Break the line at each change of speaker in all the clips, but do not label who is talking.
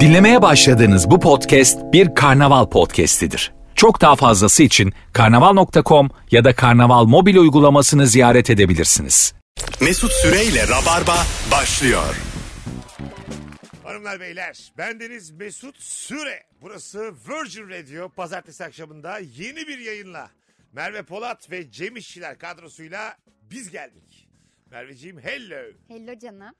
Dinlemeye başladığınız bu podcast bir karnaval podcastidir. Çok daha fazlası için karnaval.com ya da karnaval mobil uygulamasını ziyaret edebilirsiniz.
Mesut Süreyle Rabarba başlıyor.
Hanımlar beyler bendeniz Mesut Süre. Burası Virgin Radio pazartesi akşamında yeni bir yayınla. Merve Polat ve Cem İşçiler kadrosuyla biz geldik. Merveciğim hello.
Hello canım.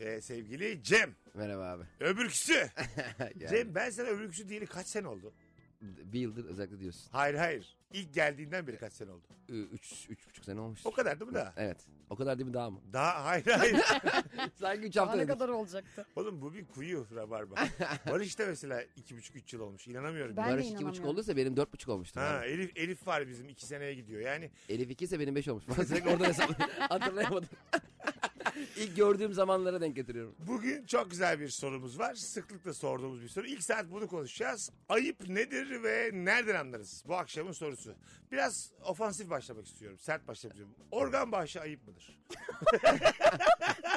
Ee, sevgili Cem.
Merhaba abi.
Öbürküsü.
Yani
Cem ben sana öbürküsü diyeli kaç sene oldu?
bir yıldır özellikle diyorsun.
Hayır hayır. İlk geldiğinden beri kaç sene oldu?
Ü- Üç, üç buçuk sene olmuş.
O kadar değil mi daha?
Evet. O kadar değil mi daha mı?
Daha hayır hayır.
Sanki üç
Daha
hafta
ne
dedik.
kadar olacaktı?
Oğlum bu bir kuyu rabarba. Barış da mesela iki buçuk üç yıl olmuş. İnanamıyorum.
Ben
Barış
de
iki buçuk
inanamıyorum.
olduysa benim dört buçuk olmuştu.
Ha, Elif, Elif var bizim iki seneye gidiyor. Yani
Elif iki ise benim beş olmuş. Ben sürekli oradan hesap hatırlayamadım. İlk gördüğüm zamanlara denk getiriyorum.
Bugün çok güzel bir sorumuz var. Sıklıkla sorduğumuz bir soru. İlk saat bunu konuşacağız. Ayıp nedir ve nereden anlarız? Bu akşamın sorusu. Biraz ofansif başlamak istiyorum. Sert başlamak istiyorum. Organ bağışı ayıp mıdır?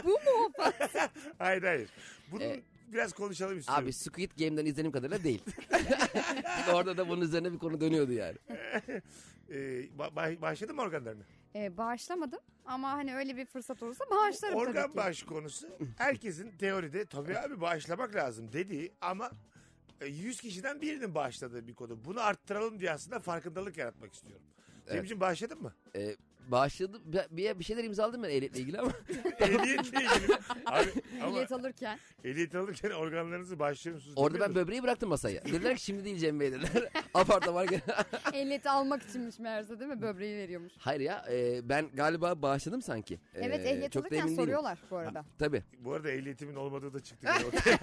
Bu mu?
Hayır hayır. Bunu
Ee,
biraz konuşalım istiyorum.
Abi Squid Game'den izlediğim kadarıyla değil. Çünkü orada da bunun üzerine bir konu dönüyordu yani.
Ee, ba- ba- bağışladın mı organlarını?
Ee, bağışlamadım ama hani öyle bir fırsat olursa bağışlarım tabii
Organ
ki.
bağışı konusu herkesin teoride tabii abi bağışlamak lazım dediği ama e, 100 kişiden birinin bağışladığı bir konu. Bunu arttıralım diye aslında farkındalık yaratmak istiyorum. Cemciğim bağışladın mı?
Ee, bağışladım. Bir- Bir, bir şeyler imzaladım ben ehliyetle ilgili ama.
Ehliyetle ilgili. Abi, ama
Ehliyet alırken.
ehliyet alırken organlarınızı başlıyor musunuz?
Orada ben
bilmiyorum.
böbreği bıraktım masaya. Dediler ki şimdi değil Cem Bey dediler. Apartman
Ehliyeti almak içinmiş meğerse değil mi? Böbreği veriyormuş.
Hayır ya e, ben galiba bağışladım sanki. E,
Evet ehliyet
çok da emin
alırken
değilim.
soruyorlar bu arada.
Ha, Tabii.
Bu arada ehliyetimin olmadığı da çıktı. bir ortaya.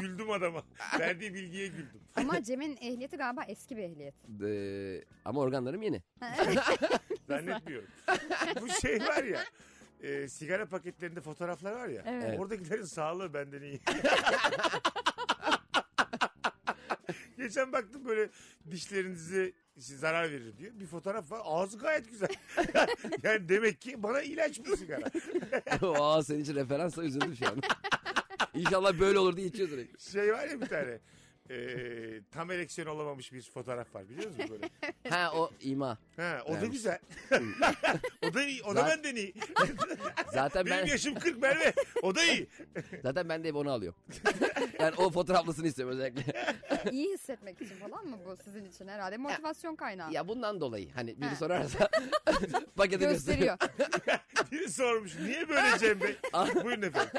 güldüm adama. Verdiği bilgiye güldüm.
Ama Cem'in ehliyeti galiba eski bir ehliyet.
E, ama organlarım yeni.
Zannetmiyorum. Bu şey var ya. e, sigara paketlerinde fotoğraflar var ya.
Evet.
Oradakilerin sağlığı benden iyi. Geçen baktım böyle dişlerinizi zarar verir diyor. Bir fotoğraf var. Ağzı gayet güzel. yani demek ki bana ilaç bu sigara.
Aa senin için referansa üzüldüm şu an. İnşallah böyle olur diye içiyor sürekli.
Şey var ya bir tane. Ee, tam eleksiyon olamamış bir fotoğraf var biliyor musun böyle?
Ha o ima.
Ha, o da
Vermiş.
güzel. o da iyi. O da
Zaten-
benden iyi.
Zaten
Benim
ben
yaşım 40 Merve. O da iyi.
zaten ben de hep onu alıyorum. yani o fotoğraflısını istiyorum özellikle.
İyi hissetmek için falan mı bu sizin için herhalde? Motivasyon kaynağı.
ya bundan dolayı hani biri
Ha.
sorarsa pakete gösteriyor.
Gösteriyor.
Biri sormuş. Niye böyle Cem Bey?
Ah.
Buyurun efendim.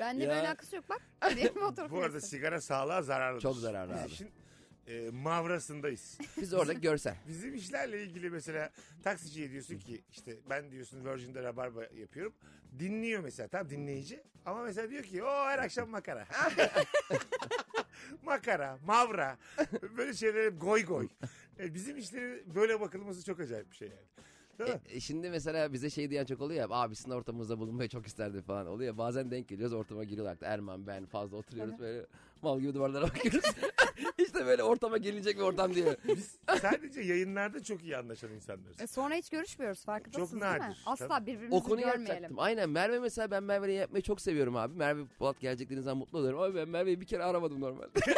Bende
Ya.
böyle alakası yok bak. Benim fotoğrafım
Bu arada
yok.
sigara sağlığa zararlıdır.
Çok zararlı
Biz
abi.
işin e, mavrasındayız.
Biz orada görsel.
Bizim işlerle ilgili mesela taksiciye diyorsun ki işte ben diyorsun Virgin'de rabarba yapıyorum. Dinliyor mesela tam dinleyici ama mesela diyor ki o her akşam makara. makara, mavra böyle şeyler hep goy goy. E, bizim işleri böyle bakılması çok acayip bir şey yani. Değil mi?
E, e, şimdi mesela bize şey diyen çok oluyor ya abisinin ortamımızda bulunmayı çok isterdi falan oluyor. Bazen denk geliyoruz ortama giriyorlar. da, Erman ben fazla oturuyoruz böyle mal gibi duvarlara bakıyoruz. işte böyle ortama gelinecek bir ortam diye.
Biz sadece yayınlarda çok iyi anlaşan insanlarız.
E sonra hiç görüşmüyoruz farkındasınız
Çok
değil mi?
nadir.
Asla
Tabii.
birbirimizi
O konuyu
görmeyelim.
yapacaktım. Aynen Merve mesela ben Merve'yi yapmayı çok seviyorum abi. Merve Polat geleceklerizden mutlu oluyorum. Abi ben Merve'yi bir kere aramadım normalde.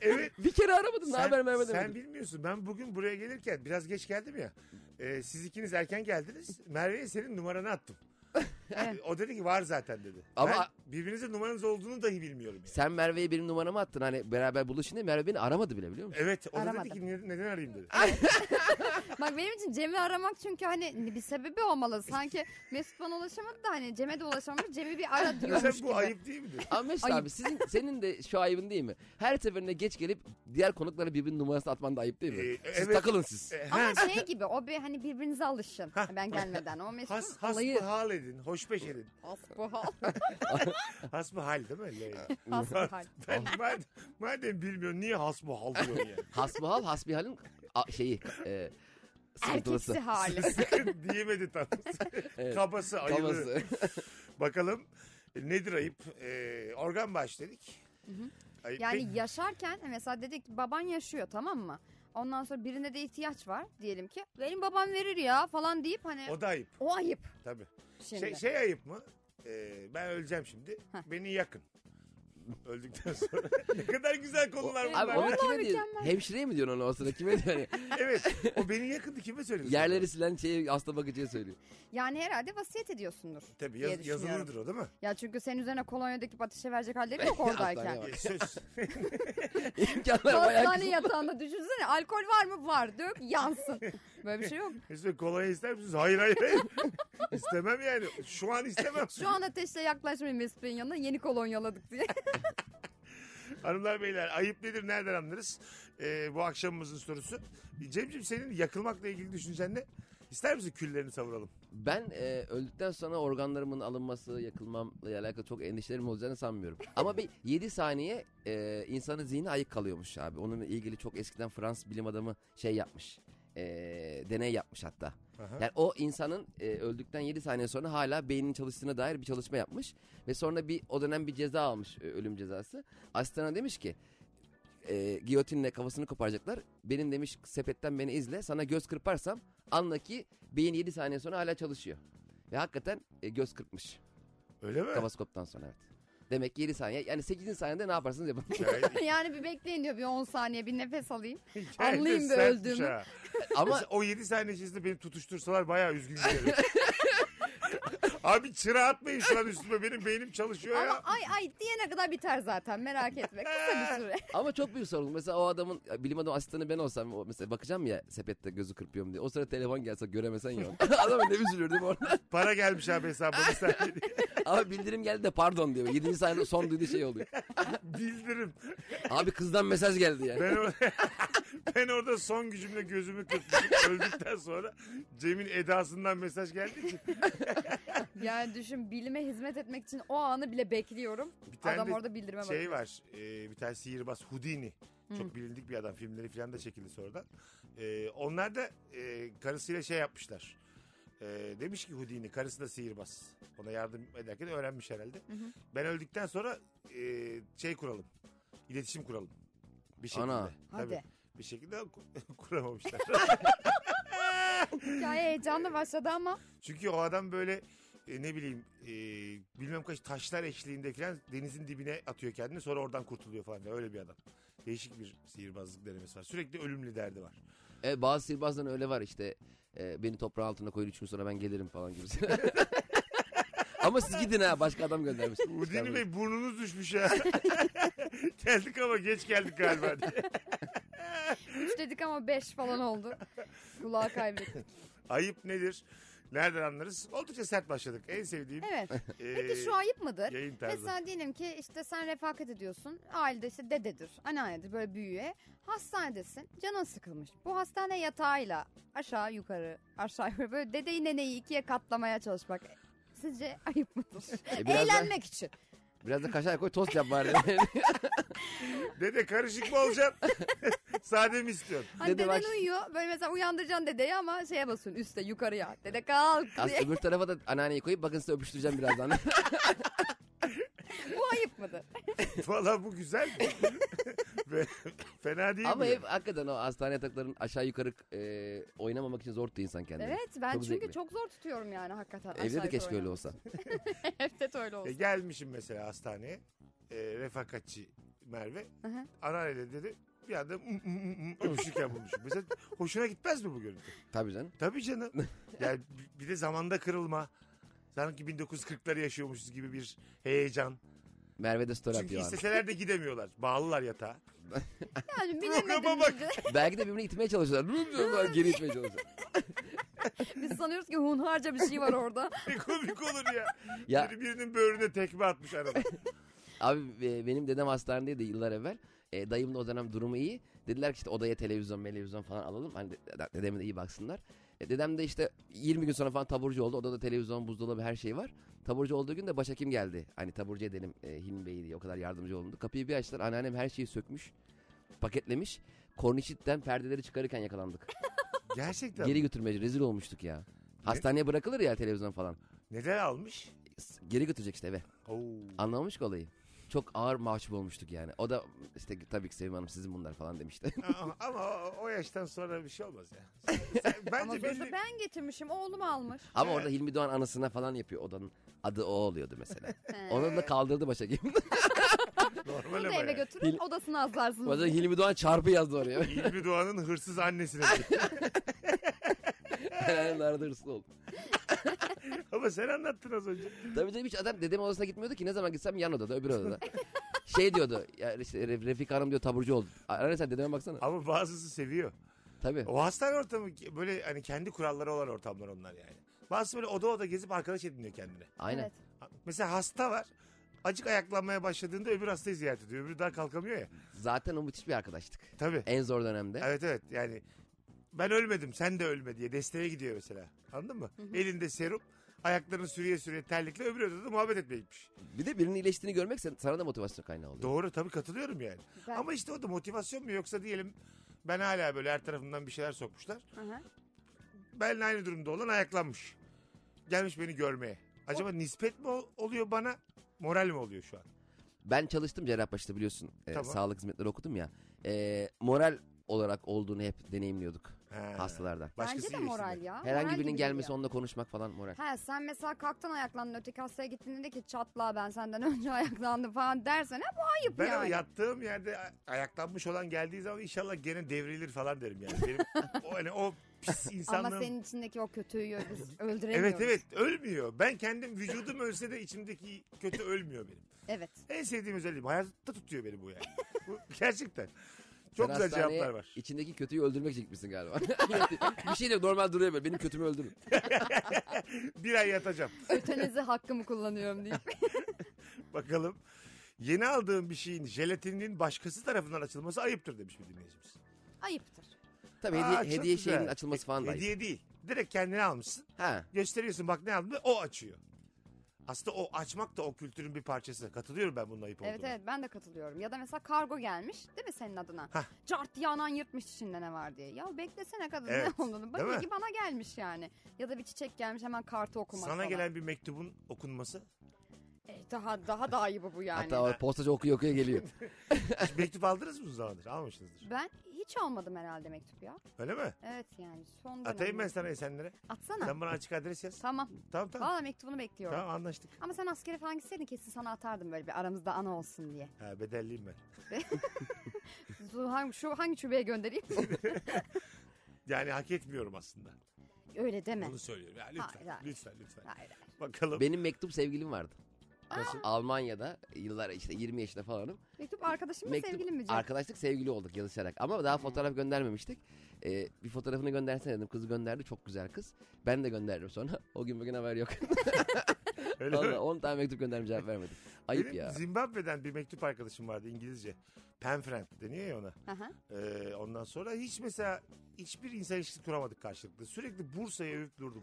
evet.
bir kere aramadım. Ne haber Merve
sen
demedim.
bilmiyorsun. Ben bugün buraya gelirken biraz geç geldim ya. E, siz ikiniz erken geldiniz. Merve'ye senin numaranı attım.
Evet.
O dedi ki var zaten dedi.
Ama-
Ben birbirinizin numaranız olduğunu dahi bilmiyorum. Yani.
Sen Merve'ye benim numaramı attın. Hani beraber buluşun diye Merve beni aramadı bile biliyor musun?
Evet o da dedi
Aramadım.
ki "Ne- neden arayayım dedi.
Bak benim için Cem'i aramak çünkü hani bir sebebi olmalı. Sanki Mesut bana ulaşamadı da hani Cem'e de ulaşamadı. Cem'i bir ara diyormuş
Sen
gibi.
bu ayıp değil midir?
Ama Mesut
Ayıp.
abi sizin, senin de şu ayıbın değil mi? Her seferinde geç gelip diğer konuklara birbirinin numarasını atman da ayıp değil mi?
Ee,
siz
evet.
takılın siz.
E, ha,
Ama şey gibi o bir hani birbirinize alışın. ben gelmeden. O
has,
Mesut'un olayı.
hasbihal edin, hoşbeş edin.
Hasbihal.
Hasbihal değil mi? Leyla?
Hasbihal.
ben, madem, madem bilmiyorsun niye hasbihal diyorsun yani?
Hasbihal, hasbihalin a- şeyi... E, sıkıntılısı.
Erkeksi hali.
Sakın diyemedi tam.
Evet.
Kabası ayılı.
Kafası.
Bakalım e, nedir ayıp? E, organ baş dedik. Ayıp
Yani
değil.
yaşarken hani mesela dedik ki baban yaşıyor tamam mı? Ondan sonra birine de ihtiyaç var diyelim ki. Benim babam verir ya falan deyip hani o,
o da ayıp
ayıp
tabii.
şimdi.
Şey, şey ayıp mı? E, e, ben öleceğim şimdi. Beni yakın. Öldükten sonra. ne kadar güzel konular bunlar.
Abi onu
Vallahi
kime diyorsun?
mükemmel.
Hemşireye mi diyorsun onu o sırada? Kime diyorsun? Hani
Evet. O beni yakındı kime söylüyorsun?
yerleri silen şeyi hasta bakıcıya söylüyor.
Yani herhalde vasiyet ediyorsundur.
Tabii
diye
yaz,
düşünüyorum.
yazılıdır o değil mi?
Ya çünkü senin üzerine kolonya döküp ateşe verecek halleri yok oradayken.
Hastane var.
E, söz.
İmkanlar bayağı
Hastane
kısıtlı.
yatağında düşünsene alkol var mı? Var. Dök yansın. Böyle bir şey yok.
Mesut kolay ister misiniz? Hayır hayır hayır. istemem yani. Şu an istemem.
Şu an ateşle yaklaşmayın Mesut Bey'in yanına yeni kolonyaladık diye.
Hanımlar beyler ayıp nedir nereden anlarız? Ee, bu akşamımızın sorusu. Cem'ciğim senin yakılmakla ilgili düşüncen ne? İster misin küllerini savuralım?
Ben e, öldükten sonra organlarımın alınması, yakılmamla alakalı çok endişelerim olacağını sanmıyorum. Ama bir 7 saniye e, insanın zihni ayık kalıyormuş abi. Onunla ilgili çok eskiden Fransız bilim adamı şey yapmış. E, deney yapmış hatta. Yani o insanın e, öldükten 7 saniye sonra hala beyninin çalıştığına dair bir çalışma yapmış. Ve sonra bir o dönem bir ceza almış e, ölüm cezası. Asistana demiş ki e, giyotinle kafasını koparacaklar. Benim demiş sepetten beni izle sana göz kırparsam anla ki beyin 7 saniye sonra hala çalışıyor. Ve hakikaten e, göz kırpmış
Öyle mi?
kafaskoptan sonra evet. Demek ki 7 saniye yani 8. saniyede ne yaparsanız yapın.
Yani
yani bir bekleyin diyor bir 10 saniye bir nefes alayım.
hikaye de
Anlayayım bir
sertmiş
öldüğümü.
ha.
Ama
Mesela o 7 saniye içerisinde beni tutuştursalar bayağı üzgün giderim. Abi çıra atmayın şu an üstüme benim beynim çalışıyor
Ama
ya.
ay ay diyene kadar biter zaten merak etme. Kısa bir süre.
ama çok büyük sorumluluk. Mesela o adamın bilim adamı asistanı ben olsam o mesela bakacağım ya sepette gözü kırpıyorum diye. O sırada telefon gelse göremesen ya. Adam ne üzülür değil mi orada?
Para gelmiş abi hesabıma bir saniye.
Ama bildirim geldi de pardon diyor. 7. saniyede son duyduğu şey oluyor.
Bildirim.
Abi kızdan mesaj geldi yani.
Ben, or- ben orada son gücümle gözümü kırpmışım. Öldükten sonra Cem'in edasından mesaj geldi ki.
Yani düşün bilime hizmet etmek için o anı bile bekliyorum.
tane
Adam
de
orada bildirme bakıyor.
şey var e, bir tane sihirbaz Houdini. Çok bilindik bir adam. Filmleri falan da çekildi sonradan. E, onlar da e, karısıyla şey yapmışlar. E, demiş ki Houdini karısı da sihirbaz. Ona yardım ederken öğrenmiş herhalde. Ben öldükten sonra e, şey kuralım. İletişim kuralım. Bir şekilde.
Ana.
Tabii.
Hadi.
Bir şekilde ku- kuramamışlar.
Hikaye heyecanla başladı ama
Çünkü o adam böyle e, ne bileyim e, bilmem kaç taşlar eşliğinde falan denizin dibine atıyor kendini sonra oradan kurtuluyor falan öyle bir adam. Değişik bir sihirbazlık denemesi var. Sürekli ölümlü derdi var.
E, bazı sihirbazların öyle var işte. E, beni toprağın altına koyun üç gün sonra ben gelirim falan gibi. Ama siz gidin ha başka adam göndermiş.
Udini Bey burnunuz düşmüş ya. geldik ama geç geldik galiba diye.
3 dedik ama 5 falan oldu. Kulağı kaybettik.
Ayıp nedir? Nereden anlarız? Oldukça sert başladık. En sevdiğim.
Evet.
e,
Peki şu ayıp mıdır?
yayın tarzı.
Mesela diyelim ki işte sen refakat ediyorsun. Ailede işte dededir, anneannedir böyle büyüğe. Hastanedesin, canın sıkılmış. Bu hastane yatağıyla aşağı yukarı aşağı yukarı böyle dedeyi neneyi ikiye katlamaya çalışmak. Sizce ayıp mıdır?
E, biraz da-
Eğlenmek için.
Biraz da kaşar koy tost yap bari.
Dede karışık mı olacaksın? Sade mi istiyorsun?
Hani
Dede
deden
bak-
uyuyor böyle mesela uyandıracaksın dedeyi ama şeye basıyorsun üste yukarıya. Dede kalk
Az
diye.
öbür tarafa da anneanneyi koyup bakın size öpüştüreceğim birazdan.
Bu ayıp mıdır?
Valla bu güzel. Ve Fena değil
Ama
mi?
hep hakikaten o hastane yataklarının aşağı yukarı e, oynamamak için zor tutuyor insan kendini.
Evet ben
Çok
çünkü
zevkli.
çok zor tutuyorum yani hakikaten. aşağı
Evde de
yukarı
keşke öyle
oynamayı.
olsa.
Evde de öyle
E,
olsun.
gelmişim mesela hastaneye. E, refakatçi Merve.
Aha.
Anneanne dedi bir anda mm, mm, mm, mm öpüşürken bulmuşum. Mesela hoşuna gitmez mi bu görüntü?
Tabii canım.
Tabii canım. Yani b- bir de zamanda kırılma. Sanki 1940'ları yaşıyormuşuz gibi bir heyecan.
Merve de story
Çünkü
atıyor. abi.
isteseler de gidemiyorlar. Bağlılar yatağa.
Yani
Programa
bilemedim
bak.
biz de.
Belki de birbirini itmeye çalışıyorlar. Geri itmeye çalışıyorlar.
Biz sanıyoruz ki hunharca bir şey var orada.
Ne komik olur ya.
Ya
Biri birinin böğrüne tekme atmış araba.
Abi e, benim dedem hastanedeydi yıllar evvel. E, dayım da o dönem durumu iyi. Dediler ki işte odaya televizyon, televizyon falan alalım. Hani de- dedeme de iyi baksınlar. E, dedem de işte 20 gün sonra falan taburcu oldu. Odada televizyon, buzdolabı her şey var. Taburcu olduğu gün de başhekim geldi. Hani taburcu edelim e, Hilmi Bey'i diye o kadar yardımcı olundu. Kapıyı bir açtılar. Anneannem her şeyi sökmüş. Paketlemiş. Kornişitten perdeleri çıkarırken yakalandık.
Gerçekten.
Geri götürmeci rezil olmuştuk ya. Hastaneye bırakılır ya televizyon falan.
Neden almış?
Geri götürecek işte eve.
Oo.
Anlamamış ki olayı. çok ağır mahcup olmuştuk yani. O da işte tabii ki Sevim Hanım sizin bunlar falan demişti.
Ama- Ama o, o yaştan sonra bir şey olmaz ya. Sen- sen-
Ama
bence
sonuçta
belli.
ben getirmişim oğlum almış.
Ama orada Hilmi Doğan anasına falan yapıyor. Odanın adı o oluyordu mesela. Onu da kaldırdı başa gibi.
Normal
Bunu
ama
da eve
yani.
götürün odasını
o yüzden
azlarsınız.
Hilmi Doğan çarpı yazdı oraya.
Hilmi Doğan'ın hırsız annesine.
Helal arada hırsız oldu.
Ama sen anlattın az önce.
Tabii tabii hiç adam dedemin odasına gitmiyordu ki. Ne zaman gitsem yan odada öbür odada. şey diyordu. Ya işte Re- Refika Hanım diyor taburcu oldu. Anne sen dedeme baksana.
Ama bazısı seviyor.
Tabii.
O hastane ortamı ki- böyle hani kendi kuralları olan ortamlar onlar yani. Bazısı böyle oda oda gezip arkadaş ediniyor kendine.
Aynen.
Evet.
Mesela hasta var. Acık ayaklanmaya başladığında öbür hastayı ziyaret ediyor. Öbürü daha kalkamıyor ya.
Zaten o müthiş bir arkadaştık.
Tabii.
En zor dönemde.
Evet evet yani ben ölmedim sen de ölme diye desteğe gidiyor mesela. Anladın mı? Elinde serum ayaklarını sürüye sürüye terlikle öbür odada da muhabbet etmeye gitmiş.
Bir de birinin iyileştiğini görmek sen- sana da motivasyon kaynağı oluyor.
Doğru tabii katılıyorum yani.
Ben-
Ama işte o da motivasyon mu yoksa diyelim ben hala böyle her tarafımdan bir şeyler sokmuşlar.
Hı hı.
Benle aynı durumda olan ayaklanmış. Gelmiş beni görmeye. Acaba nispet mi ol- oluyor bana moral mi oluyor şu an?
Ben çalıştım Cerrahpaşa'da biliyorsun. Ee,
Tamam.
Sağlık hizmetleri okudum ya. Ee, moral olarak olduğunu hep deneyimliyorduk
He.
hastalarda.
Bence de
iyileştirmek.
moral ya.
Herhangi
Moral
birinin
gibi
gelmesi
geliyor.
onunla konuşmak falan moral.
Ha sen mesela kalktın ayaklandın öteki hastaya gittiğinde de ki çatla ben senden önce ayaklandım falan dersen ha bu ayıp
Ben ama
yani.
yattığım yerde a- ayaklanmış olan geldiği zaman inşallah gene devrilir falan derim yani. Benim o, hani o pis
Ama
insanlığım.
senin içindeki o kötüyü biz
Evet
öldüremiyoruz.
evet ölmüyor. Ben kendim vücudum ölse de içimdeki kötü ölmüyor benim.
Evet.
En sevdiğim özelliğim. Hayatta tutuyor beni bu yani. Bu, gerçekten. Çok
Sen
güzel
hastaneye
cevaplar var.
İçindeki kötüyü öldürmek için gitmişsin galiba. bir şey de yok, normal duruyor böyle. Benim kötümü öldürün.
Bir ay yatacağım.
Ötenizi hakkımı kullanıyorum diye.
Bakalım. Yeni aldığım bir şeyin jelatininin başkası tarafından açılması ayıptır demiş bir dinleyicimiz.
Ayıptır.
Tabii
Aa,
hediye,
çok
hediye
güzel. E,
şeyinin açılması falan da. ayıp.
Hediye değil. Direkt kendine almışsın.
Ha.
Gösteriyorsun bak ne aldım diye, o açıyor. Aslında o açmak da o kültürün bir parçası. Katılıyorum ben bunun ayıp
Evet
olduğuna.
evet ben de katılıyorum. Ya da mesela kargo gelmiş değil mi senin adına?
Hah.
Cart diye anan yırtmış içinde ne var diye. Ya beklesene kadın
Evet,
ne olduğunu.
değil mi?
Bak ki bana gelmiş yani. Ya da bir çiçek gelmiş hemen kartı okumak
Sana
falan.
gelen bir mektubun okunması.
E, daha daha da ayıbı bu yani.
Hatta o postacı okuyor okuyor geliyor.
Hiç mektup aldınız mı uzun zamandır? Almışsınızdır.
Ben hiç almadım herhalde mektup ya.
Öyle mi?
Evet yani son dönem.
Atayım ben sana Esenler'e.
Atsana.
Sen bana açık adres yaz.
Tamam.
Tamam tamam.
Valla mektubunu bekliyorum.
Tamam anlaştık.
Ama sen askere falan gitseydin kesin sana atardım böyle bir aramızda ana olsun diye.
Ha, bedelliyim ben.
Zu- Hangi, şu, hangi şubeye göndereyim?
Yani hak etmiyorum aslında.
Öyle deme.
Bunu söylüyorum. Ya, lütfen,
Hayır, hayır.
lütfen lütfen.
Hayır.
Bakalım.
Benim mektup sevgilim vardı. Almanya'da yıllar işte 20 yaşında falanım.
Mektup arkadaşım mı
Mektup-
sevgilin mi? canım?
Arkadaşlık sevgili olduk yazışarak. Ama daha fotoğraf göndermemiştik. Ee, bir fotoğrafını göndersene dedim. Kız gönderdi. Çok güzel kız. Ben de gönderdim sonra. O gün bugün haber yok.
Öyle mi?
Vallahi 10 tane mektup gönderdim cevap vermedim. Ayıp
Benim
ya.
Zimbabwe'den bir mektup arkadaşım vardı İngilizce. Pen friend deniyor ya ona.
Hı hı.
Ee, ondan sonra hiç mesela hiçbir insan ilişkisi kuramadık karşılıklı. Sürekli Bursa'yı övüp durdum.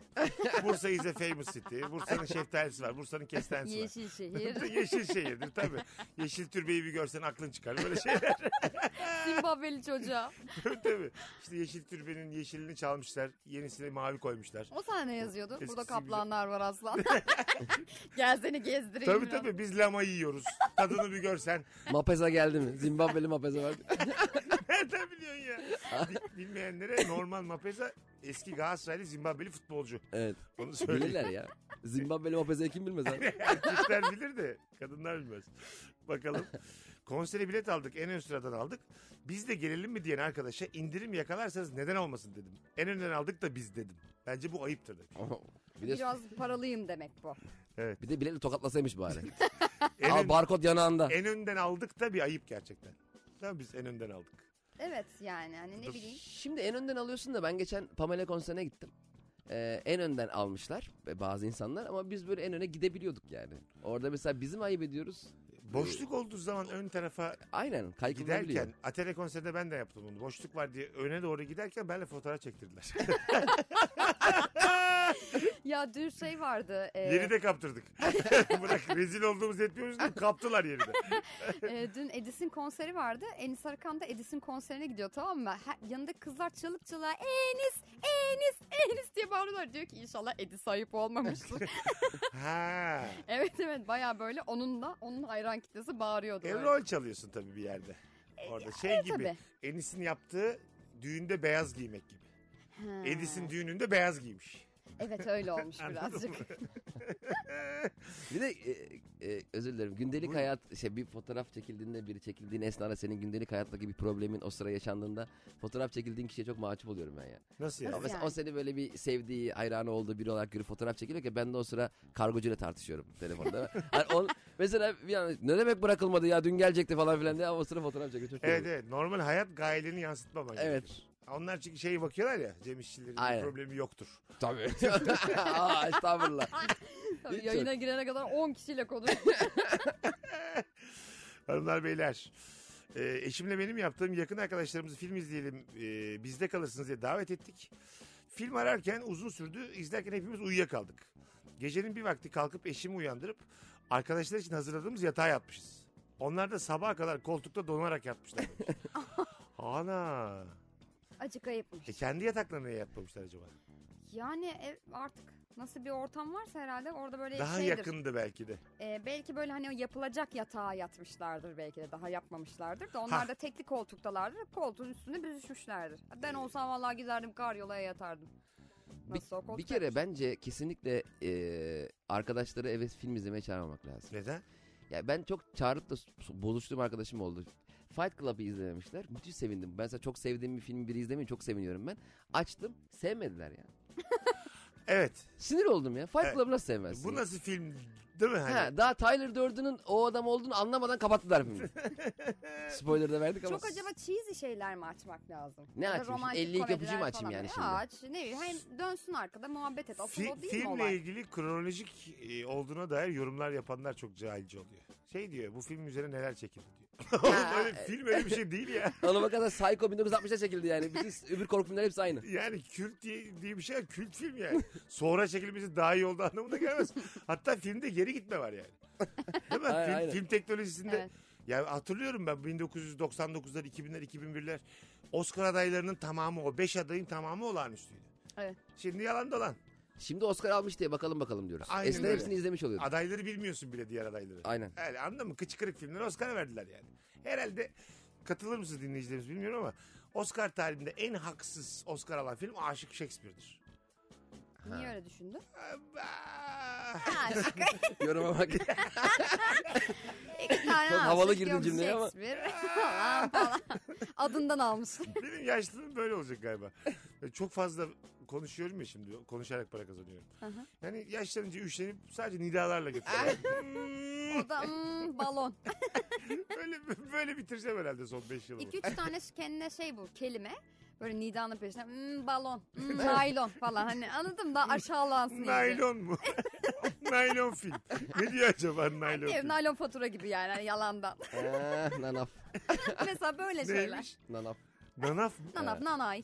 Bursa is a famous city. Bursa'nın şeftalisi var. Bursa'nın kestanesi var.
Yeşil şehir.
Yeşil şehirdir tabii. Yeşil türbeyi bir görsen aklın çıkar. Böyle şeyler
Zimbabweli çocuğa.
tabii tabii. İşte yeşil türbenin yeşilini çalmışlar. Yenisine mavi koymuşlar.
O sahne yazıyordu.
Eskisi
Burada
güzel.
kaplanlar var aslan. Gel seni gezdireyim.
Tabii
biraz.
tabii biz lama yiyoruz. Tadını bir görsen.
Mapeza geldi mi? Zimbabweli Mapeza vardı.
Nereden biliyorsun ya? Bil- Bilmeyenlere Norman Mapeza eski Galatasaraylı Zimbabweli futbolcu.
evet.
Onu söyleyeyim.
Bilirler ya. Zimbabweli Mapeza'yı kim bilmez abi?
Erkekler bilir de kadınlar bilmez. Bakalım. Konsere bilet aldık. En ön sıradan aldık. Biz de gelelim mi diyen arkadaşa indirim yakalarsanız neden olmasın dedim. En önden aldık da biz dedim. Bence bu ayıptır dedim.
bir, de,
Biraz paralıyım demek bu.
bir de biletle tokatlasaymış bari.
En,
Al
ön-
barkod yanağında.
en önden aldık da bir ayıp gerçekten. Tamam biz en önden aldık.
Evet yani hani ne bileyim.
Şimdi en önden alıyorsun da ben geçen Pamela konserine gittim. Ee, en önden almışlar e, bazı insanlar ama biz böyle en öne gidebiliyorduk yani. Orada mesela bizim ayıp ediyoruz.
Boşluk olduğu zaman ön tarafa
Aynen kaykılabiliyor.
giderken Atele konserinde ben de yaptım bunu. Boşluk var diye öne doğru giderken benle fotoğraf çektirdiler.
Ya dün şey vardı. e,
Yeri de kaptırdık. Bırak rezil olduğumuz yetmiyormuş da kaptılar yeri de.
e, dün Edis'in konseri vardı. Enis Arkan da Edis'in konserine gidiyor tamam mı? Her, yanında kızlar çığlık çığlığa Enis, Enis, Enis diye bağırıyorlar. Diyor ki inşallah Edis ayıp olmamıştır.
Ha.
evet evet baya böyle onunla onun hayran hayran kitlesi bağırıyordu.
E,
böyle.
rol çalıyorsun tabii bir yerde. Orada şey gibi.
tabii.
Enis'in yaptığı düğünde beyaz giymek gibi.
Ha,
Edis'in düğününde beyaz giymiş.
Evet öyle olmuş
Anladın
birazcık.
Bir de e, e, özür dilerim. Gündelik hayat şey bir fotoğraf çekildiğinde biri çekildiğin esnada senin gündelik hayattaki bir problemin o sıra yaşandığında fotoğraf çekildiğin kişiye çok mahcup oluyorum ben ya.
Nasıl
Ya
yani?
mesela
yani?
o seni böyle bir sevdiği, hayranı olduğu biri olarak görüp fotoğraf çekiliyor ki ben de o sıra kargocuyla tartışıyorum telefonda. Hani on- mesela bir an ne demek bırakılmadı ya dün gelecekti falan filan diye ama o sıra fotoğraf çekiyor. Çok
Evet
komik.
evet normal hayat gayelerini yansıtmaman
Evet.
gerekir. Onlar çünkü şey bakıyorlar ya Cem İşçilerin
Aynen.
problemi yoktur.
Tabii. Aa, estağfurullah.
Tabii
Hiç
yayına girene kadar 10 kişiyle konuştuk.
Hanımlar beyler e, eşimle benim yaptığım yakın arkadaşlarımızı film izleyelim e, bizde kalırsınız diye davet ettik. Film ararken uzun sürdü izlerken hepimiz uyuyakaldık. Gecenin bir vakti kalkıp eşimi uyandırıp arkadaşlar için hazırladığımız yatağa yatmışız. Onlar da sabaha kadar koltukta donarak yatmışlar. demiş. Ana.
Acık ayıpmış.
E kendi yataklarına yatmamışlar acaba?
Yani e, artık nasıl bir ortam varsa herhalde orada böyle
Daha
şeydir.
yakındı belki de.
E, belki böyle hani o yapılacak yatağa yatmışlardır belki de daha yapmamışlardır da onlar
Ha.
da tekli koltuktalardır. Koltuğun üstünde büzüşmüşlerdir. Ben olsam vallahi giderdim karyolaya yatardım. Nasıl o
Ee, Bir,
koltuk
bir kere
yapmış?
bence kesinlikle e, arkadaşları eve film izlemeye çağırmamak lazım.
Neden?
Ya ben çok çağırıp da s- bozuştuğum arkadaşım oldu. Fight Club'ı izlememişler. Müthiş sevindim. Ben mesela çok sevdiğim bir filmi biri izlemiyor. Çok seviniyorum ben. Açtım. Sevmediler ya.
Evet.
Sinir oldum ya. Fight
Evet.
Club'ı nasıl sevmezsin?
Bu
ya?
nasıl film değil mi? Hani?
Ha, daha Tyler Durden'ın o adam olduğunu anlamadan kapattılar filmi. Spoiler da verdik ama.
Çok acaba cheesy şeyler mi açmak lazım?
Ne
Ya da
açmışım?
romantik
52 öpücüğü mü
komediler
açayım
falan.
yani
Ya
şimdi?
Aç ne bileyim hem dönsün arkada muhabbet et. Aslında
Fi-
o değil mi
filmle
olay?
ilgili kronolojik e, olduğuna dair yorumlar yapanlar çok cahilce oluyor. Şey diyor bu film üzerine neler çekildi diyor. Oğlum öyle,
e-
film öyle bir şey değil ya.
Ona bakarsan Psycho 1960'da çekildi yani. Bütün öbür korku filmler hepsi aynı.
Yani kült diye, diye bir şey var, kült film yani. Sonra çekilmesi daha iyi oldu anlamına gelmez. Hatta filmde geri gitme var yani. Değil mi?
Aynen,
film,
aynen.
film teknolojisinde.
Evet.
Yani hatırlıyorum ben 1999'lar, 2000'ler, 2001'ler Oscar adaylarının tamamı o 5 adayın tamamı olağanüstüydü.
Evet.
Şimdi yalan dolan.
Şimdi Oscar almış diye bakalım bakalım diyoruz.
Aynen
Eskiden
öyle.
hepsini izlemiş oluyorduk.
Adayları bilmiyorsun bile diğer adayları.
Aynen.
Yani anladın mı? Kıçkırık filmlere Oscar verdiler yani. Herhalde katılır mısınız dinleyicilerimiz bilmiyorum ama Oscar tarihinde en haksız Oscar alan film Aşık Shakespeare'dir.
Niye öyle düşündün?
Aba!
Aşk.
Yoruma bak.
İki tane
Çok
aşık,
havalı girdin
yok
cümleye ama.
Shakespeare falan falan. Adından almış.
Benim yaşlılığım böyle olacak galiba. Böyle Çok fazla konuşuyorum ya şimdi. Konuşarak para kazanıyorum. Yani yaşlanınca üşenip sadece nidalarla götürüyorum. Hmm,
O da hmm, balon.
böyle, böyle bitireceğim herhalde son 5 yılımı.
İki üç tane ş- kendine şey bu kelime. Böyle Nida'nın peşine hmm, balon, hmm, naylon falan hani anladım
Hmm.
da aşağılansın iyice.
Naylon mu? naylon film. Ne diyor acaba naylon
Ev
film?
naylon fatura gibi yani hani yalandan.
Ah, nanaf.
Mesela böyle şeyler.
Neymiş?
Nanaf.
Nanaf mı?
Nanaf, nanay.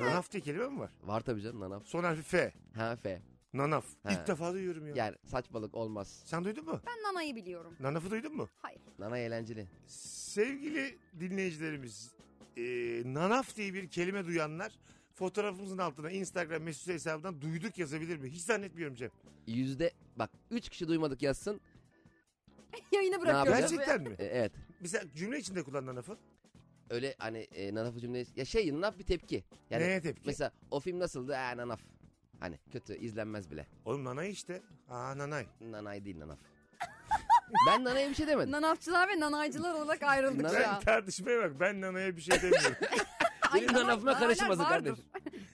Nanaf diye kelime mi var?
Var tabii canım nanaf.
Son harfi F.
Ha F.
Nanaf.
Ha.
İlk defa duyuyorum ya.
Yani saçmalık olmaz.
Sen duydun mu?
Ben nanayı biliyorum.
Nanaf'ı duydun mu?
Hayır.
Nana eğlenceli.
Sevgili dinleyicilerimiz, e, nanaf diye bir kelime duyanlar fotoğrafımızın altına Instagram mesut Süre hesabından duyduk yazabilir mi? Hiç zannetmiyorum Cem.
Yüzde bak 3 kişi duymadık yazsın.
Yayını bırakıyoruz.
yapacağız?
Gerçekten mi?
E, evet.
Mesela cümle içinde kullan nanafı.
Öyle hani e, nanafı cümleyi. Ya şey nanaf bir tepki. Yani
Neye tepki?
mesela o film nasıldı? Ha nanaf. Hani kötü izlenmez bile.
Oğlum nanay işte. Aa nanay.
Nanay değil nanaf. ben nanaya bir şey demedim.
Nanafçılar ve nanaycılar olarak ayrıldık
Nanay-
şu an.
Ben tartışmaya bak ben nanaya bir şey demiyorum.
Ay,
Benim
nanay-
nanafıma
nanaylar
karışmasın
vardır.
kardeşim.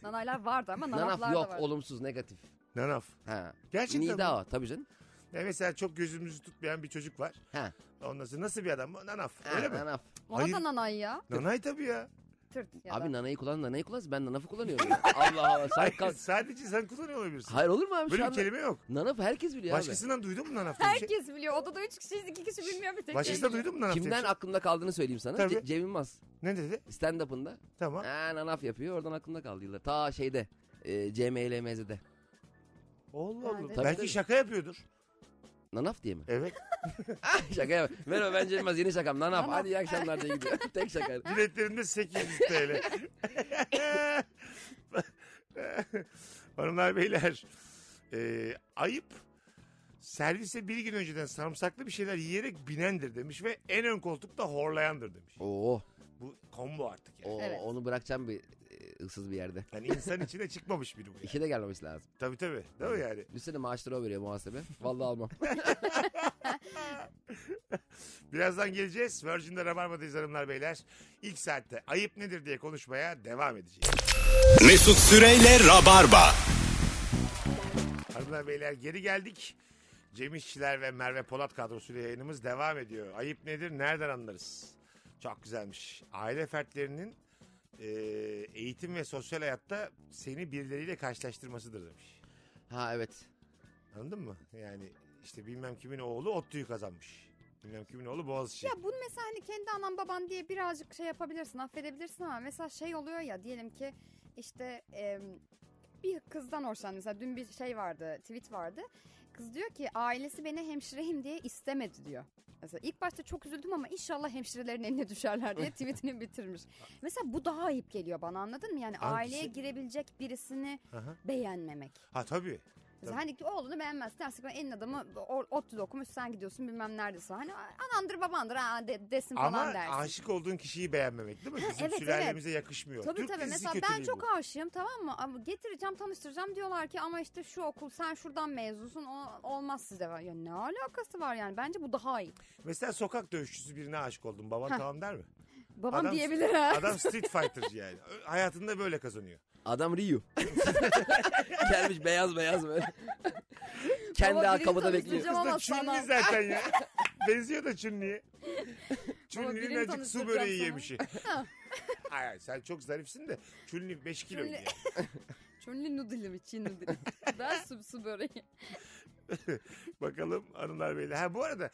Nanaylar vardı ama nanaflar
Nanaf yok
da var.
olumsuz negatif.
nanaf.
Ha.
Gerçekten
Nida o tabii canım.
Ya mesela çok gözümüzü tutmayan bir çocuk var.
Ha.
Ondan sonra nasıl bir adam? bu? Nanaf.
ha
Öyle mi?
nanaf.
Ona
Hayır.
da nanay ya.
Nanay tabii ya.
Tırt ya da.
Abi nanayı kullan nanayı kullansın. Ben nanafı kullanıyorum. ya. Allah Allah. Sen kal-
Sadece sen kullanıyor olabilirsin.
Hayır olur mu
Böyle
abi şu
bir
anda?
kelime yok.
Nanaf herkes biliyor
Başkasından duydun mu nanaf diye bir şey?
Herkes biliyor. Odada üç kişiyiz, iki kişi bilmiyor bir tek.
Başkasından duydun mu nanaf
abi.
diye bir
Kimden
şey?
aklımda kaldığını söyleyeyim sana.
Tabii.
Ce- Cem Yılmaz
Ne dedi?
stand-up'ında.
Tamam.
Ha, nanaf yapıyor oradan aklımda kaldı yıllar. Ta şeyde e, CMLMZ'de.
Allah Allah.
Nerede?
Tabii,
Belki
tabii.
şaka yapıyordur.
Nanaf diye mi?
Evet.
şaka yap. Merhaba ben Cem Yılmaz yeni şakam nanaf.
Nanaf.
Hadi iyi akşamlar diye gidiyor. Tek şaka.
Biletlerinde 800 TL. Hanımlar beyler. Ee, ayıp servise bir gün önceden sarımsaklı bir şeyler yiyerek binendir demiş ve en ön koltukta horlayandır demiş.
Oo,
Bu combo artık yani.
oo,
Evet.
onu bırakacağım bir e, ıssız bir yerde.
Yani insan içine çıkmamış biri bu. Yani.
İşe de gelmemesi lazım.
Tabii tabii. Değil mi yani?
Üstüne maaşları o veriyor muhasebe. Vallahi almam.
Birazdan geleceğiz. Virgin'de Rabarba'dayız hanımlar beyler. İlk saatte ayıp nedir diye konuşmaya devam edeceğiz.
Mesut Süreyle Rabarba.
Hanımlar beyler geri geldik. Cem İşçiler ve Merve Polat kadrosuyla yayınımız devam ediyor. Ayıp nedir? Nereden anlarız? Çok güzelmiş. Aile fertlerinin e, eğitim ve sosyal hayatta seni birileriyle karşılaştırmasıdır demiş.
Ha evet.
Anladın mı? Yani işte bilmem kimin oğlu ODTÜ'yü kazanmış. Bilmem kimin oğlu Boğaziçi.
Ya bunu mesela hani kendi anan baban diye birazcık şey yapabilirsin, affedebilirsin ama mesela şey oluyor ya diyelim ki işte em, bir kızdan hoşlan mesela dün bir şey vardı, tweet vardı. Kız diyor ki ailesi beni hemşireyim diye istemedi diyor. Mesela ilk başta çok üzüldüm ama inşallah hemşirelerin eline düşerler diye tweetini bitirmiş. Mesela bu daha ayıp geliyor bana anladın mı? Yani
Hangisi?
aileye girebilecek birisini
Aha.
beğenmemek.
Ha tabii.
Mesela hani oğlunu beğenmez. Dersin ki en adamı o- ODTÜ'de okumuş sen gidiyorsun bilmem neredesin. Hani anandır babandır ha de- desin falan
Ama
dersin.
aşık olduğun kişiyi beğenmemek değil mi? Bizim
evet,
sülalemize yakışmıyor.
Tabii
Türk
tabii
dizisi
mesela ben
kötülüğü
çok
bu.
aşığım tamam mı? Ama getireceğim tanıştıracağım diyorlar ki ama işte şu okul sen şuradan mezunsun o olmaz size. Ya ne alakası var yani bence bu daha iyi.
Mesela sokak dövüşçüsü birine aşık oldum. Baban
Ha.
tamam der mi?
Babam
Adam-
diyebilir ha.
Adam Street Fighter yani. Ö- Hayatında böyle kazanıyor.
Adam Ryu. Gelmiş beyaz beyaz böyle. Kendi
Baba,
arkabada
birini
bekliyor.
tanıştıracağım
Kız da
ama
Çunli
sana.
zaten ya. Benziyor da Çunli'ye.
birini
Çunli'nin acık su
tanıştıracağım
böreği
sana.
yemişi. Hayır hayır, sen çok zarifsin de Çunli 5 kilo.
Çunli-
yiyor.
Çönlü noodle'ı mı Çin noodle'ı? ben su, su böreği.
Bakalım hanımlar beyler. Ha bu arada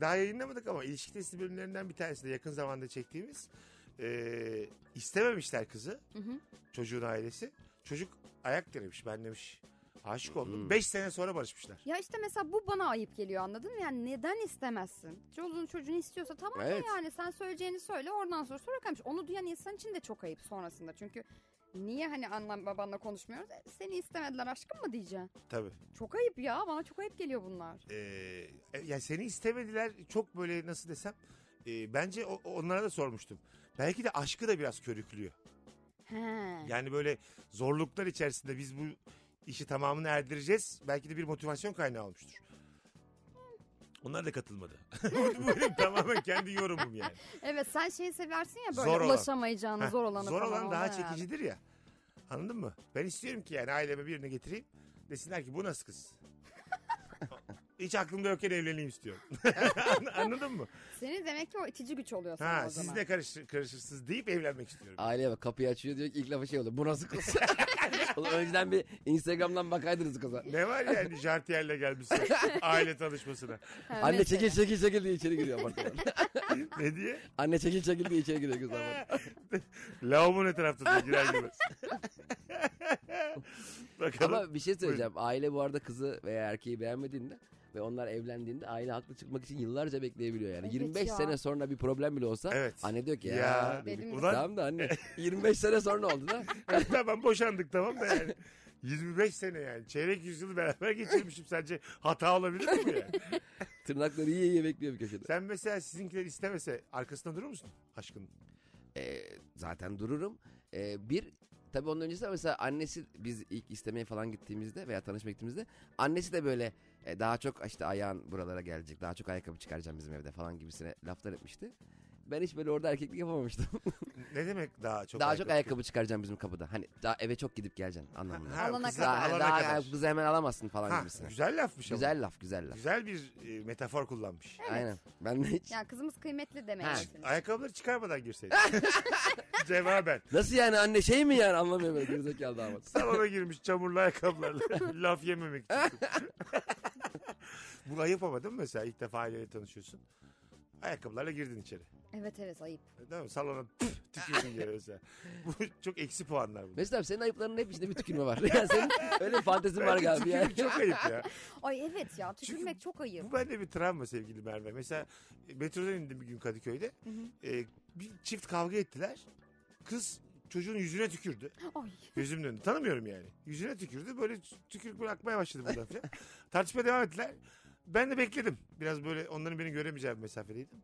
daha yayınlamadık ama ilişki testi bölümlerinden bir tanesi de yakın zamanda çektiğimiz. Ee, istememişler kızı.
Hı hı.
Çocuğun ailesi. Çocuk ayak denemiş ben demiş. Aşık oldum.
Hmm.
5 sene sonra barışmışlar.
Ya işte mesela bu bana ayıp geliyor anladın mı? Yani neden istemezsin? Çoluğun çocuğunu istiyorsa tamam ya
Evet.
yani sen söyleyeceğini söyle oradan sonra sonra kalmış. Onu duyan insan için de çok ayıp sonrasında. Çünkü niye hani annem babanla konuşmuyoruz? E, Seni istemediler aşkım mı diyeceksin?
Tabii.
Çok ayıp ya bana çok ayıp geliyor bunlar.
Ee, e, ya seni istemediler çok böyle nasıl desem. e, bence o- o- onlara da sormuştum. Belki de aşkı da biraz körüklüyor.
He.
Yani böyle zorluklar içerisinde biz bu işi tamamını erdireceğiz. Belki de bir motivasyon kaynağı olmuştur. Onlar da katılmadı. bu bu benim tamamen kendi yorumum yani.
Evet sen şeyi seversin ya böyle
Zor olan.
ulaşamayacağını
Heh,
zor olanı
Zor
falan
olan daha
ona yani.
çekicidir ya. Anladın mı? Ben istiyorum ki yani aileme birini getireyim. Desinler ki bu nasıl kız? Hiç aklımda yokken evleneyim istiyorum. Anladın mı?
Senin demek ki o itici güç oluyor sana
Ha
o zaman.
siz ne karışır, karışırsınız deyip evlenmek istiyorum.
Aileye bak kapıyı açıyor diyor ki ilk lafı şey oluyor. Bu nasıl kız? Oğlum önceden bir Instagram'dan bakaydınız kıza.
Ne var yani jartiyerle gelmişsin aile tanışmasına.
Ha,
Anne
mesela.
çekil çekil çekil diye içeri giriyor apartmana.
ne diye?
Anne çekil çekil diye içeri giriyor kız apartmana.
Lavabonun etrafta da girer girmez. Bakalım.
Ama bir şey söyleyeceğim. Aile bu arada kızı veya erkeği beğenmediğinde ve onlar evlendiğinde aile haklı çıkmak için yıllarca bekleyebiliyor yani.
Evet
25
ya.
sene sonra bir problem bile olsa
Evet.
anne diyor ki hani ya,
Ya,
dedik,
dedim
ya.
tamam da anne 25 sene sonra oldu da
tamam boşandık tamam da yani. 25 sene yani. Çeyrek yüzyılı beraber geçirmişim. Sence hata olabilir mi bu ya?
tırnakları iyi iyi bekliyor bir köşede.
Sen mesela sizinkiler istemese arkasında durur musun aşkın?
Ee, zaten dururum. Ee, bir tabii onun öncesi de mesela annesi biz ilk istemeye falan gittiğimizde veya tanışmaya gittiğimizde annesi de böyle e, daha çok işte ayağın buralara gelecek daha çok ayakkabı çıkaracağım bizim evde falan gibisine laflar etmişti. Ben hiç böyle orada erkeklik yapamamıştım.
Ne demek daha çok
daha çok ayakkabı çıkaracağım bizim kapıda. Hani daha eve çok gidip geleceksin anlamında.
Ha,
Alana
kızı-
kadar.
daha,
alana
daha
kadar.
kızı hemen alamazsın falan
Ha,
gibisine. Güzel,
güzel lafmış ama.
laf güzel laf.
Güzel bir e, metafor kullanmış.
Aynen. Ben de hiç.
Ya kızımız kıymetli demek.
Ha.
istedim.
Ayakkabıları çıkarmadan girseydin. Cevaben.
Nasıl yani anne şey mi yani anlamıyor böyle gerizekalı damat.
Salona girmiş çamurlu ayakkabılarla. Laf yememek için. Bu ayıp ama değil mi mesela? ilk defa aileyle tanışıyorsun. Ayakkabılarla girdin içeri.
Evet evet ayıp.
Değil mi? Salona püf, tükürdün yere mesela. Bu çok eksi puanlar bunlar.
Mesut abi senin ayıplarının hepsinde bir tükürme var. Yani senin öyle bir fantezin var
Bence
galiba. Yani.
tükürük çok ayıp ya.
Ay evet ya tükürmek çok ayıp.
Bu bende bir travma sevgili Merve. Mesela e, metrodan indim bir gün Kadıköy'de. E, bir çift kavga ettiler. Kız çocuğun yüzüne tükürdü.
Ay.
Gözümün önünde. Tanımıyorum yani. Yüzüne tükürdü. Böyle tükürük böyle akmaya başladı buradan falan. Tartışmaya devam ettiler. Ben de bekledim. Biraz böyle onların beni göremeyeceği bir mesafedeydim.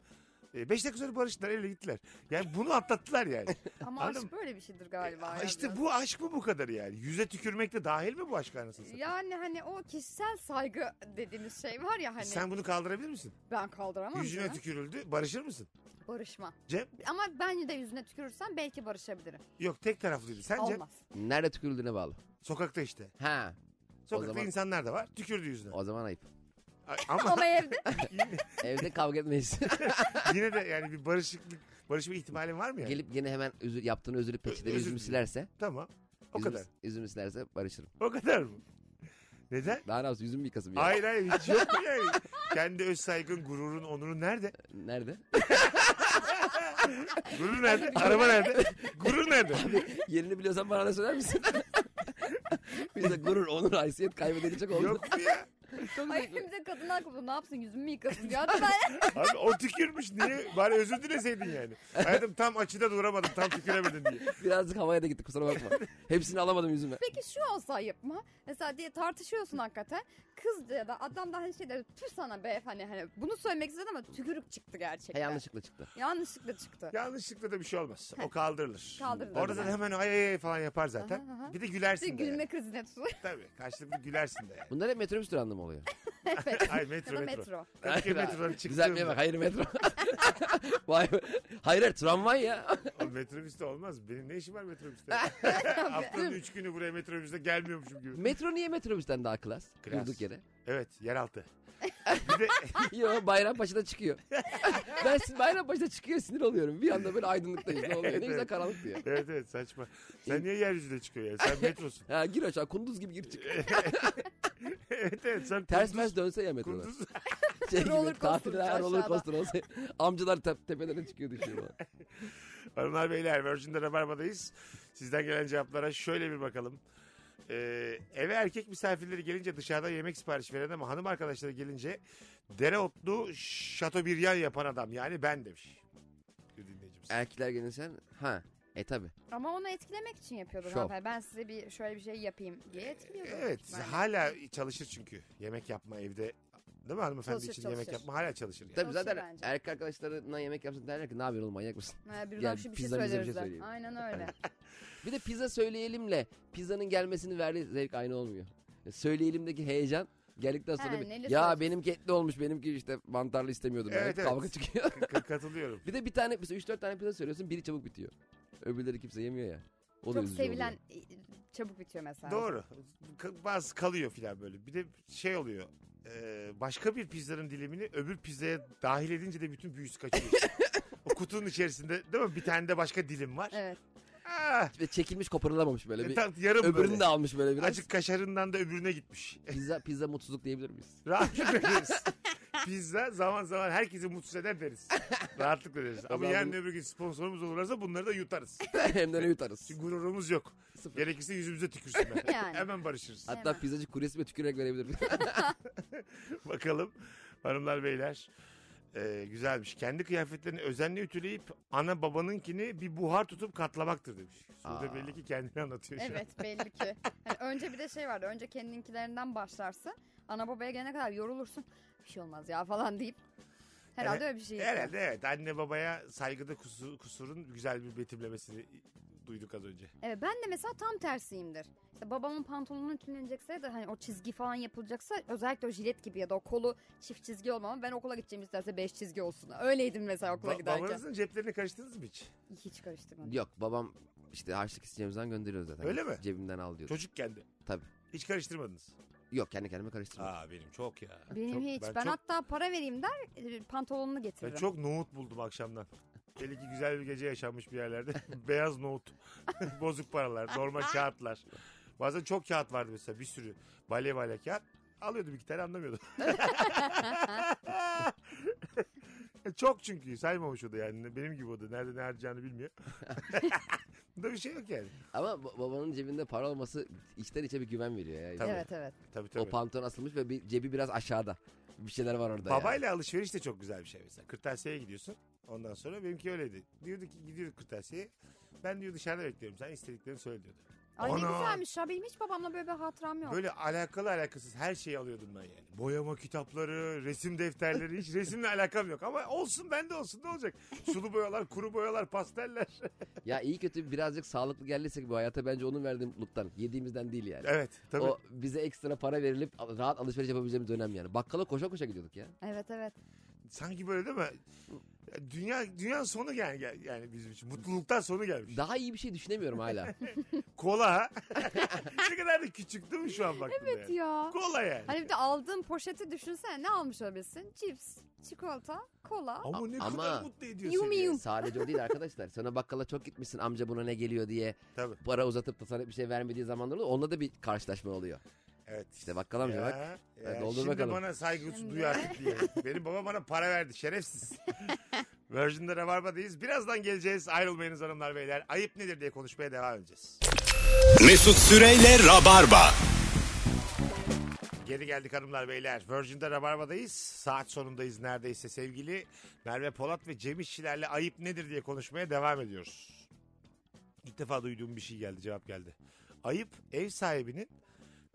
E, beş dakika sonra barıştılar. Evle gittiler. Yani bunu atlattılar yani.
Ama
Anladım.
aşk böyle bir şeydir galiba.
E, Ha
ya
işte
biraz.
bu aşk mı bu kadar yani? Yüze tükürmek de dahil mi bu aşk anasını satayım?
Yani hani o kişisel saygı dediğimiz şey var ya hani
Sen bunu kaldırabilir misin?
ben kaldıramam.
Yüzüne
canım.
tükürüldü. Barışır mısın?
Barışma.
Cem?
Ama ben de yüzüne tükürürsem belki barışabilirim.
Yok tek taraflıydı. Sence?
Olmaz.
Nerede tükürüldüğüne bağlı.
Sokakta işte.
Ha,
Sokakta
zaman-
insanlar da var. Tükürdü yüzüne.
o zaman ayıp.
Ay, Ama
Ama evde
yine,
Evde kavga etmeyiz.
yine de yani bir barışıklık, barışma ihtimalin var mı yani?
Gelip yine hemen üzü, yaptığını özürü peçete
Özür
yüzümü
dilerim.
silerse.
Tamam. O
yüzümü-
kadar.
Yüzümü silerse barışırım.
O kadar mı? Neden?
Daha ne olsun yüzümü yıkasım ya.
Hayır hayır hiç yok mu yani? Kendi öz saygın, gururun, onurun nerede?
Nerede?
Gurur nerede? Araba nerede? Gurur nerede?
Yerini biliyorsan bana da söyler misin? Biz de gurur, onur, haysiyet kaybedilecek oldu.
yok mu ya?
Çok
Ay
zevkli.
bir de kadın haklı. Ne yapsın yüzümü mü yıkasın ya. Ben
Abi o tükürmüş niye? Bari özür dileseydin yani. Hayatım tam açıda duramadım, tam tüküremedin diye.
Birazcık havaya da gitti kusura bakma. Hepsini alamadım yüzüme.
peki şu olsa ayıp mı? Mesela diye tartışıyorsun hakikaten. Kız ya da adam da hani şey der. Tüh sana be hani hani bunu söylemek istedim ama tükürük çıktı
He
gerçekten.
yanlışlıkla çıktı.
Yanlışlıkla çıktı.
Yanlışlıkla da bir şey olmaz. O kaldırılır.
Kaldırılır.
Orada da hemen ay ay falan yapar zaten.
Aha, aha.
Bir de
Bir
gülersin de.
gülme
yani.
krizine tutulur.
Tabii karşılıklı gülersin de yani.
Bunlar hep metrobüs durağında mı oluyor?
evet.
Ay
Ya
metro
da
metro.
metro.
Türkiye metrodan
Düzeltmeye
çıktığımda.
bak hayır metro. Vay be. Hayır hayır tramvay ya.
Oğlum metrobüste olmaz. Benim ne işim var metrobüste? Haftanın üç günü buraya metrobüste gelmiyormuşum gibi.
Metro niye metrobüsten daha klas?
Klas.
Durduk yere.
Evet yeraltı. bir de
Yo Bayrampaşa'da çıkıyor. ben sin- Bayrampaşa'da çıkıyor sinir oluyorum. Bir anda böyle aydınlıktayız ne oluyor? Ne güzel karanlık diyor.
evet evet saçma. Sen niye yeryüzüne çıkıyor ya? Sen metrosun.
Ha, gir aşağı kunduz gibi gir çık.
evet evet sen
Ters
kunduz-
mers dönse ya metroda.
Kunduz.
Şey gibi,
Roller coaster
tatiller, roller
aşağıda.
coaster olsa. Amcalar te- tepelerine çıkıyor düşüyor falan.
Hanımlar beyler Virgin'de Rabarba'dayız. Sizden gelen cevaplara şöyle bir bakalım. Ee, eve erkek misafirleri gelince dışarıda yemek siparişi veren ama hanım arkadaşları gelince dereotlu şatobriyan yapan adam yani ben demiş. Bir dinleyicimiz.
Erkekler gelirsen ha e tabi.
Ama onu etkilemek için yapıyordur
Şov.
hanımefendi. Ben size bir şöyle bir şey yapayım diye etkiliyordur.
Evet
Ben-
hala çalışır çünkü yemek yapma evde. Değil mi hanımefendi
Çalışır,
için
çalışır.
yemek yapma hala çalışır yani.
Tabi
Çalışır
zaten
bence.
erkek arkadaşlarına yemek yapsın derler ki ne yapıyorsun oğlum manyak mısın?
Ha, birden
Gel,
şu bir şey
pizza bize bir şey
söyleriz. de.
söyleyelim.
Aynen öyle.
Bir de pizza söyleyelimle pizzanın gelmesini verdiği zevk aynı olmuyor. Söyleyelimdeki heyecan geldikten sonra
Ha,
bir,
neli
ya
söyleyeceksin?"
benimki etli olmuş benimki işte mantarlı istemiyordum. ben."
Evet, evet.
Kavga çıkıyor.
Ka- Katılıyorum.
bir de bir tane mesela 3-4 tane pizza söylüyorsun biri çabuk bitiyor. Öbürleri kimse yemiyor ya. O da
Çok
üzücü oluyor.
sevilen e, çabuk bitiyor mesela.
Doğru. Ka- Bazı kalıyor filan böyle. Bir de şey oluyor. e, başka bir pizzanın dilimini öbür pizzaya dahil edince de bütün büyüsü kaçıyor. o kutunun içerisinde değil mi? Bir tane de başka dilim var.
Evet.
Ah,
Ve çekilmiş koparılamamış böyle.
e,
Bir,
tam yarım
öbürünü
böyle.
de almış böyle biraz.
Azıcık kaşarından da öbürüne gitmiş.
Pizza, pizza mutsuzluk diyebilir miyiz?
Rahatlıkla deriz. Pizza zaman zaman herkesi mutsuz eder deriz. Rahatlıkla deriz. Ama
zaman
yarın
bunu-
öbür gün sponsorumuz olursa bunları da yutarız.
Hem de ne yutarız.
Çünkü gururumuz yok.
Sıfır.
Gerekirse yüzümüze tükürsünler.
Yani.
Hemen barışırız.
Hatta
Hemen.
pizzacı kuryesime tükürerek verebilir.
Bakalım hanımlar beyler. Ee, güzelmiş. Kendi kıyafetlerini özenle ütüleyip ana babanınkini bir buhar tutup katlamaktır demiş. Sude
Aa.
belli ki kendini anlatıyor şu an.
Evet belli ki. Hani önce bir de şey vardı. Önce kendininkilerinden başlarsın. Ana babaya gelene kadar yorulursun. Bir şey olmaz ya falan deyip. Herhalde
Evet,
öyle bir şey. yapıyor.
Herhalde evet. Anne babaya saygıda kusu- kusurun güzel bir betimlemesini duyduk az önce.
Evet ben de mesela tam tersiyimdir. İşte babamın pantolonunu ütülenecekse de hani o çizgi falan yapılacaksa özellikle o jilet gibi ya da o kolu çift çizgi olmama ben okula gideceğim isterse beş çizgi olsun. Öyleydim mesela okula
Ba-
giderken.
babanızın ceplerini karıştırdınız mı hiç?
Hiç karıştırmadım.
Yok babam işte harçlık isteyeceğimiz zaman gönderiyor zaten.
Öyle mi?
Cebimden al diyordu.
Çocukken de.
Tabii.
Hiç karıştırmadınız.
Yok kendi kendime karıştırmadım.
Aa benim çok ya.
Benim
Çok-
hiç. Ben,
çok-
hatta para vereyim der e, pantolonunu
Ben
getiririm.
çok nohut buldum akşamdan. Belli ki güzel bir gece yaşanmış bir yerlerde. Beyaz nohut. Bozuk paralar. Normal kağıtlar. Bazen çok kağıt vardı mesela bir sürü. Bale bale kağıt. Alıyordum iki tane anlamıyordum. çok çünkü saymamış o da yani. Benim gibi o da. Nerede ne harcayacağını bilmiyor. Bunda bir şey yok yani.
Ama ba- babanın cebinde para olması içten içe bir güven veriyor ya.
Tabii.
Evet evet.
Tabii tabii.
O pantolon asılmış ve bir, cebi biraz aşağıda. Bir şeyler var orada ya.
Babayla alışveriş de çok güzel bir şey mesela. Kırtasiyeye gidiyorsun. Ondan sonra benimki öyleydi. Diyorduk ki gidiyorduk kırtasiyeye. Ben diyor dışarıda bekliyorum. Sen istediklerini söyle diyordu.
Ay ne
Ana!
güzelmiş ya benim hiç babamla böyle bir hatıram yok.
Böyle alakalı alakasız her şeyi alıyordum ben yani. Boyama kitapları, resim defterleri hiç resimle alakam yok. Ama olsun bende olsun ne olacak? Sulu boyalar, kuru boyalar, pasteller.
Ya iyi kötü birazcık sağlıklı geldiysek bu hayata bence onun verdiği mutluluktan. Yediğimizden değil yani.
evet tabii.
O bize ekstra para verilip al- rahat alışveriş yapabileceğimiz dönem yani. Bakkala koşa koşa gidiyorduk ya.
Evet evet.
Sanki böyle değil mi? Ya Dünya dünya sonu gel, gel- yani bizim için. Mutluluktan sonu gelmiş.
Daha iyi bir şey düşünemiyorum hala.
Kola ha. ne kadar da küçük değil mi şu an baktığında?
Evet
yani?
ya.
Kola yani.
Hani bir de aldığın poşeti düşünsene ne almış olabilirsin? Cips, çikolata, kola.
Ama ne
Ama-
kadar mutlu ediyor
Yum
seni.
yum.
Ee, Sadece o değil arkadaşlar. Sana bakkala çok gitmişsin amca buna ne geliyor diye
Tabii.
para uzatıp da sana bir şey vermediği zamanlar oluyor. Onunla da bir karşılaşma oluyor.
Evet.
İşte bakkal amca bak.
ya,
doldur
şimdi
bakalım.
bana saygı
Şimdi.
duyar diye. Benim babam bana para verdi şerefsiz. Virgin'de Rabarba'dayız. Birazdan geleceğiz. Ayrılmayınız hanımlar beyler. Ayıp nedir diye konuşmaya devam edeceğiz.
Mesut Süreyle Rabarba.
Geri geldik hanımlar beyler. Virgin'de Rabarba'dayız. Saat sonundayız neredeyse sevgili Merve Polat ve Cem İşçilerle ayıp nedir diye konuşmaya devam ediyoruz. İlk defa duyduğum bir şey geldi cevap geldi. Ayıp ev sahibinin